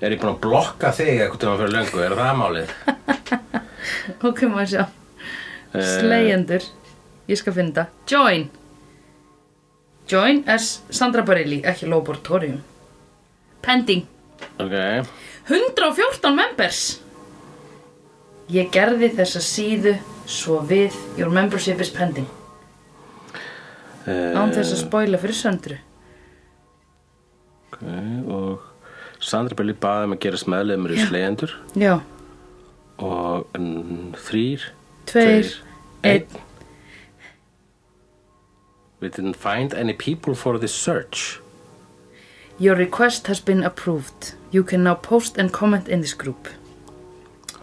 B: Er ég búin að blokka þig eitthvað tíma fyrir löngu, er það málið?
A: Ok, maður sjá Slegjendur Ég skal finna það. Join Join as Sandra Bareilly Ekki Laboratorium Pending
B: Ok,
A: 114 members Ég gerði þessa síðu Svo við Your membership is pending
B: uh,
A: Án þess að spoila fyrir söndru
B: Eh, Ok, og Sandra Belli baði um að gerast meðleimur í slegjendur
A: Já
B: og mm, þrýr,
A: Tveir, einn,
B: We didn't find any people for this search.
A: Your request has been approved. You can now post and comment in this group.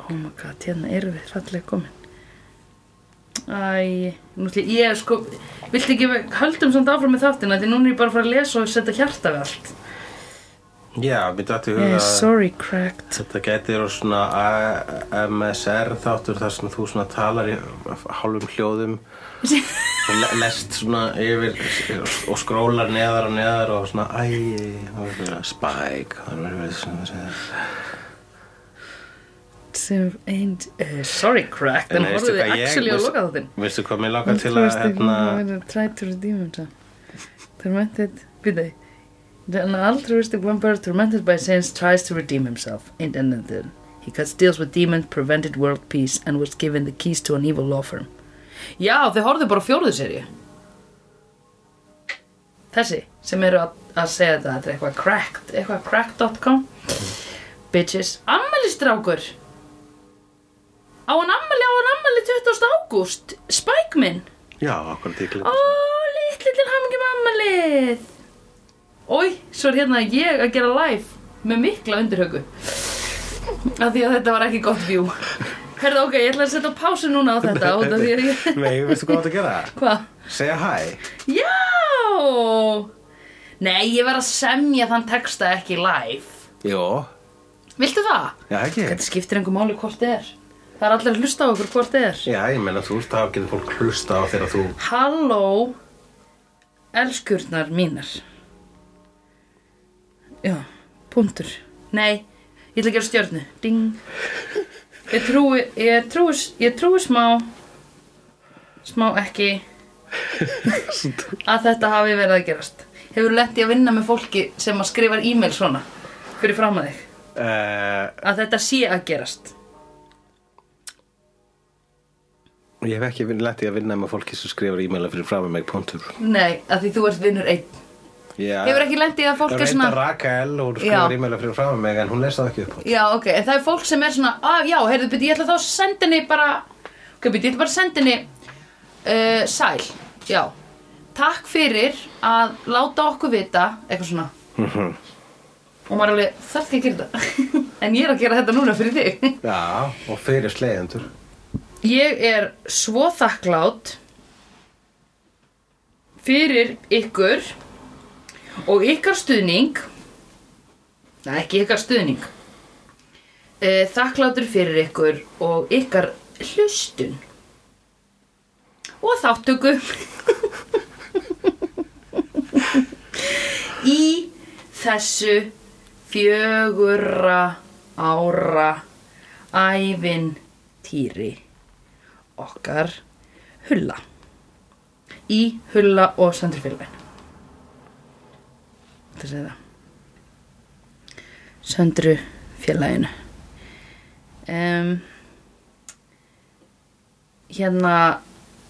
A: Oh my god, hérna erum við fallega komin. Æ, nú ætli, ég sko, viltu ekki, höldum samt áfram með þáttina, því núna er ég bara að fara að lesa og setja hjarta við allt.
B: Já, mér dætti huga
A: Yeah, sorry, cracked.
B: Þetta gæti eru svona AMSR þáttur þar sem þú svona talar í hálfum hljóðum og le- lest svona yfir og skrólar neðar og neðar og svona æ, það verður verið að spæk það verður verið svona svona
A: Sem ein- eh, Sorry, cracked, en horfðu
B: veistu hvað
A: við
B: ég-
A: actually á
B: veistu-
A: loka þáttinn.
B: Veistu hvað mér lakar til að hérna
A: Try to redeem himself. Tormented, býta An altruistic vampire tormented by sins tries to redeem himself. In the end, then, he cuts deals with demons, prevented world peace and was given the keys to an evil law firm. Já, þau horfðu bara á fjórðu serju. Þessi, sem eru að, að segja þetta, þetta er eitthvað cracked, eitthvað cracked.com.
B: Mm.
A: Bitches, ammælistrákur! Á hann ammæli, á hann ammæli 20. ágúst, Spike minn!
B: Já, akkur tíkli
A: Ó, litli til hamingi mammalið Ói, svo er hérna ég að gera live með mikla undirhaugu af því að þetta var ekki gott view Herðu, ok, ég ætla að setja pásu núna á þetta út af því að ég...
B: Nei, veistu hvað þú átt að gera?
A: Hvað?
B: Segja hæ
A: Já! Nei, ég var að semja þann texta ekki live
B: Jó,
A: Viltu það?
B: já ekki
A: Þetta skiptir einhver máli hvort þið er Það er allir að hlusta á okkur hvort þið er
B: Já, ég meina þú ert að getur fólk hlusta á þegar þú
A: Halló Elskurnar mínar Já, punktur Nei, ég ætla að gera stjörnu Ding Ég trúi, ég trúi, ég trúi smá Smá ekki Að þetta hafi verið að gerast Hefur lett í að vinna með fólki sem að skrifar e-mail svona Fyrir fram að þig
B: uh,
A: Að þetta sé að gerast
B: Ég hef ekki vinn- lett í að vinna með fólki sem skrifar e-maila fyrir fram með mig punktur.
A: Nei, að því þú ert vinnur einn
B: Já.
A: Hefur ekki lent í að fólk er svona
B: Það veit að Rakel og hún
A: Já.
B: skrifar e-maila fyrir fram með mig en hún lesa það ekki upp á.
A: Já, ok, en það er fólk sem er svona að, Já, heyrðu, byrju, ég ætla þá að senda henni bara Ok, byrju, ég ætla bara að senda henni uh, Sæl, já Takk fyrir að láta okkur vita Eitthvað svona Og maður er alveg, þarf ekki að gera þetta En ég er að gera þetta núna fyrir þig
B: Já, og fyrir slegjendur.
A: Ég er svo þakklátt fyrir ykkur og ykkar stuðning Nei, ekki ykkar stuðning Eh, Þakkláttur fyrir ykkur og ykkar hlustun og þáttöku í þessu fjögurra ára ævintýri okkar hulla í hulla og söndrufélagin þetta segir það söndrufélaginu um, hérna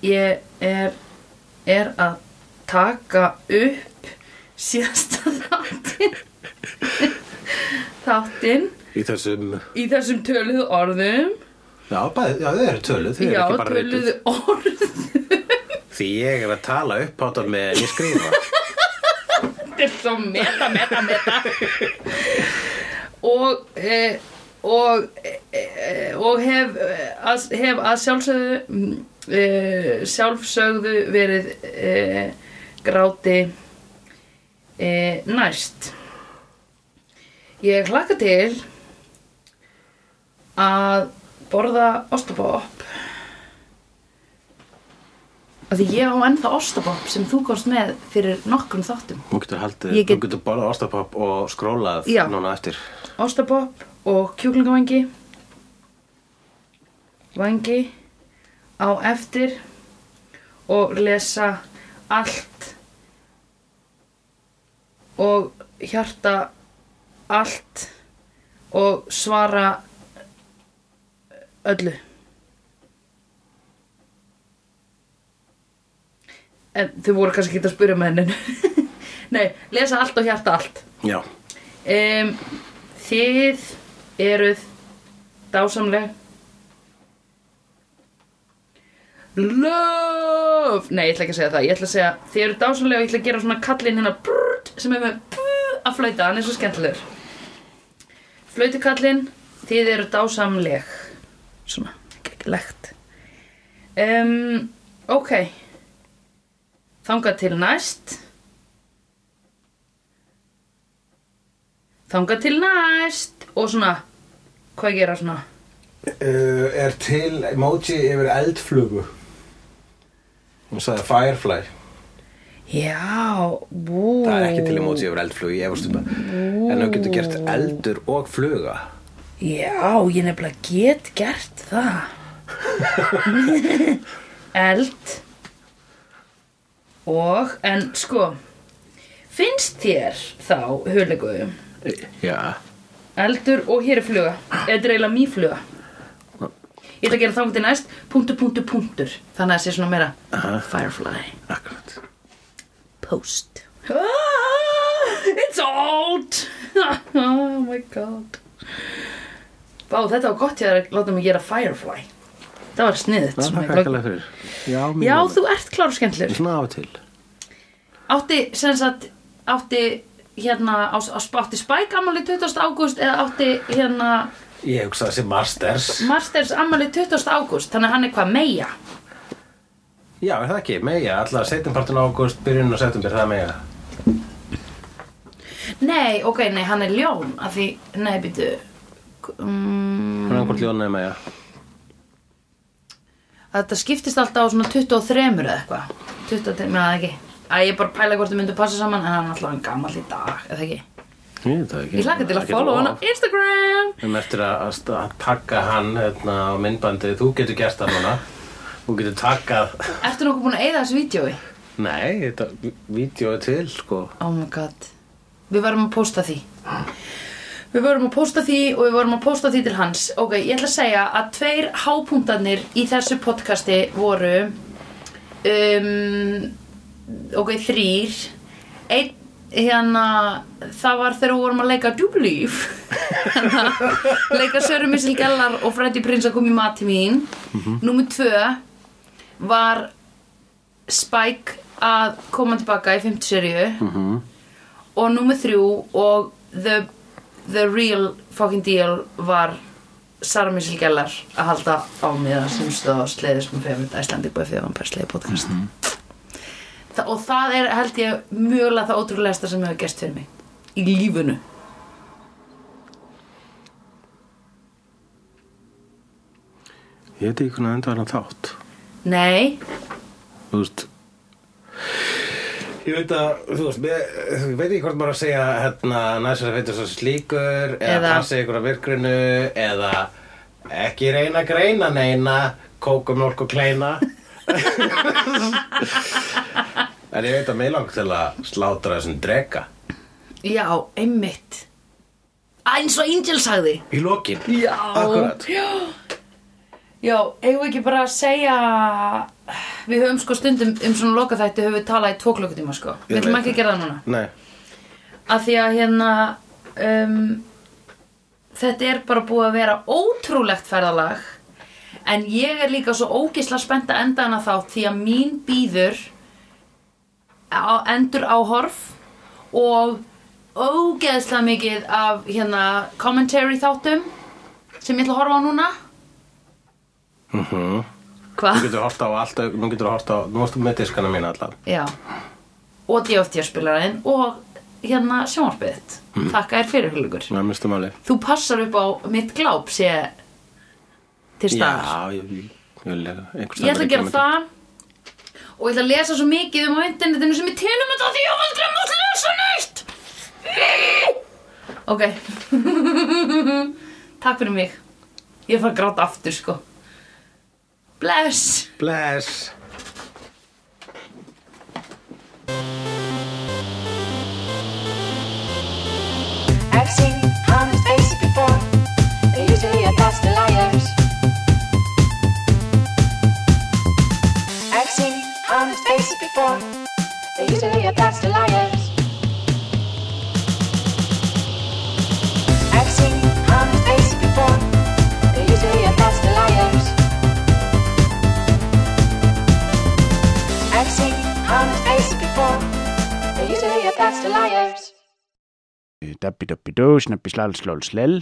A: ég er er að taka upp síðasta þáttinn þáttinn
B: Í þessum,
A: í þessum töluðu orðum
B: já, bæði, já, þau eru töluð, þau eru
A: já,
B: ekki bara reytuð.
A: töluðu orðum
B: Því ég er að tala upp á það með en ég skrifa.
A: Þetta er svo meta, meta, meta Og e, og, e, e, og hef, eh, að, hef að sjálfsögðu mm, e, sjálfsögðu verið e, gráti e, næst Ég hlakka til að borða ostabopp af því ég á ennþá ostabopp sem þú komst með fyrir nokkrum þáttum
B: Hún getur haldið,
A: Ég get-
B: hún getur borðað ostapopp og skrólað
A: Já.
B: núna eftir.
A: Ostabopp og kjúklingavangi Vangi á eftir og lesa allt og hjarta allt og svara öllu En þau voru kannski ekki að spyrja með hennin Nei, lesa allt og hjarta allt
B: Já,
A: um, Þið eruð dásamleg Love Nei, ég ætla ekki að segja það Ég ætla að segja Þið eru dásalega og ég ætla að gera svona kallinn hérna brrrt, sem er með brrrt að flauta Hann er svo skemmtilegur Flautukallinn Þið eru dásamleg Svona, ekki legt um, Ok Þangað til næst Þangað til næst Og svona Hvað gera svona?
D: uh, er til emoji yfir eldflugu hún sagði Firefly
A: Já, bú
D: það er ekki til emoji yfir eldflugu ég efast um það en þú getur gert eldur og fluga
A: Já, ég nefnilega get gert það Eld Og, en sko Finnst þér þá, hulegu
B: Eh, Já,
A: Eldur og hér er fluga Þetta er eiginlega mýfluga Ég ætla að gera þangt til næst Punktur, punktur, punktur Þannig að það sé svona meira Firefly
B: akkurat
A: Post ah, It's out Oh my god Bá, þetta var gott ég að láta mig gera Firefly Það var sniðut
B: Það er kakkalega fyrir Já, mín
A: Já,
B: alveg.
A: þú ert klár og skemmtlur
B: Svona á og til
A: Átti, sem sagt, átti hérna á, á átti Spike ammali 20. ágúst eða átti hérna
D: ég hugsa þessi Masters
A: Masters ammali 20. ágúst þannig að hann er hvað meia
D: já er það ekki, meja, alltaf setjumpartin águst byrjun og september, það er meja
A: Nei, ok, nei, hann er ljón af því, nei, býtu um,
B: Hún er einhvern ljónaði með
A: Þetta skiptist alltaf á svona 23 eða eitthvað 23, meðan það ekki Æ, ég er bara að pæla hvort þau myndu passa saman en hann er alltaf gammal í dag, eða ekki
B: Ég veit það ekki
A: Ég hlakka til að
B: Ekkert
A: follow
B: of.
A: hann á Instagram
D: um eftir að, að sta- að taka hann hérna, á myndbandið, þú getur gert það núna þú getur takkað
A: Ertu nokkuð búin að eyða þessu vídjói?
B: Nei, þetta Vídeó er til, sko
A: Oh my god Við varum að posta því Við varum að posta því og við varum að posta því til hans Ok, ég ætla að segja að tveir hápunktarnir í þessu podcasti voru um, Ok, þrýr Einn, hérna Það var þegar við vorum að leika Dúblíf Leika Söru Missil Gellar og Freddy Prince að koma í mat til mín mm Númer tvö var Spike að koma tilbaka í 50 seríu -hmm. og númer þrjú og the, the real fucking deal var Sara Mísil Gellar að halda á miða sem stóð á sleiðis með fyrir Æslandi búið fyrir vampir sleiði podcast Þa, og það er held ég mjögulega það ótrúlegasta sem hefur gerst fyrir mig í lífunu
B: Ég veit ekki hvernig að enda hann þátt
A: Nei,
B: Þú veist
D: Ég veit að, þú veist, ég, ég veit ekki hvort maður að segja hérna næstur að veitur svo slíkur eða,
A: Eða-
D: eða passi ykkur á virkrinu eða ekki reyna að greina neina kókumjólk og kleina En ég veit að mig lang til að slátra þessum drega
A: já, einmitt eins og Angel sagði
D: í lokin
A: Já,
D: Akkúrat.
A: já. Já, eigum við ekki bara að segja Við höfum sko stundum um svona lokaþætti höfum við talað í tvo klukkutíma sko Við
D: Ég
A: ætlum
D: veit
A: ekki að
D: það.
A: gera það núna
D: Nei,
A: Af því að hérna um, Þetta er bara búið að vera ótrúlegt ferðalag En ég er líka svo ógisla spennt að enda hana þátt Því að mín býður á, Endur á horf Og ógeðslega mikið af hérna commentary þáttum Sem ég ætla að horfa á núna
D: nú
A: Hvað?
D: getur hort á allt auk- nú getur hort á, nú varstu með diskana mína allan
A: Já Og DFT-spilarinn og hérna sjónvarpið þitt Þakka þér fyrir hulugur
B: Það er minnstu máli
A: þú passar upp á mitt gláp sé til staðar
B: Já, ég, ég, ég vil lega
A: ég ætla að gera það og ég ætla að lesa svo mikið um á internetinu sem ég tilum þetta því ég var aldrei mátt lesa neitt ok takk fyrir mig ég er að fara að gráta aftur sko bless
D: Bless
E: I've seen honest faces before. They're usually a pass to liars. I've seen honest faces before. They're usually a pass to liars. I've seen honest faces before. They're usually a pass to liars.
F: Dabbi dabbi dó, snabbi slal slól slel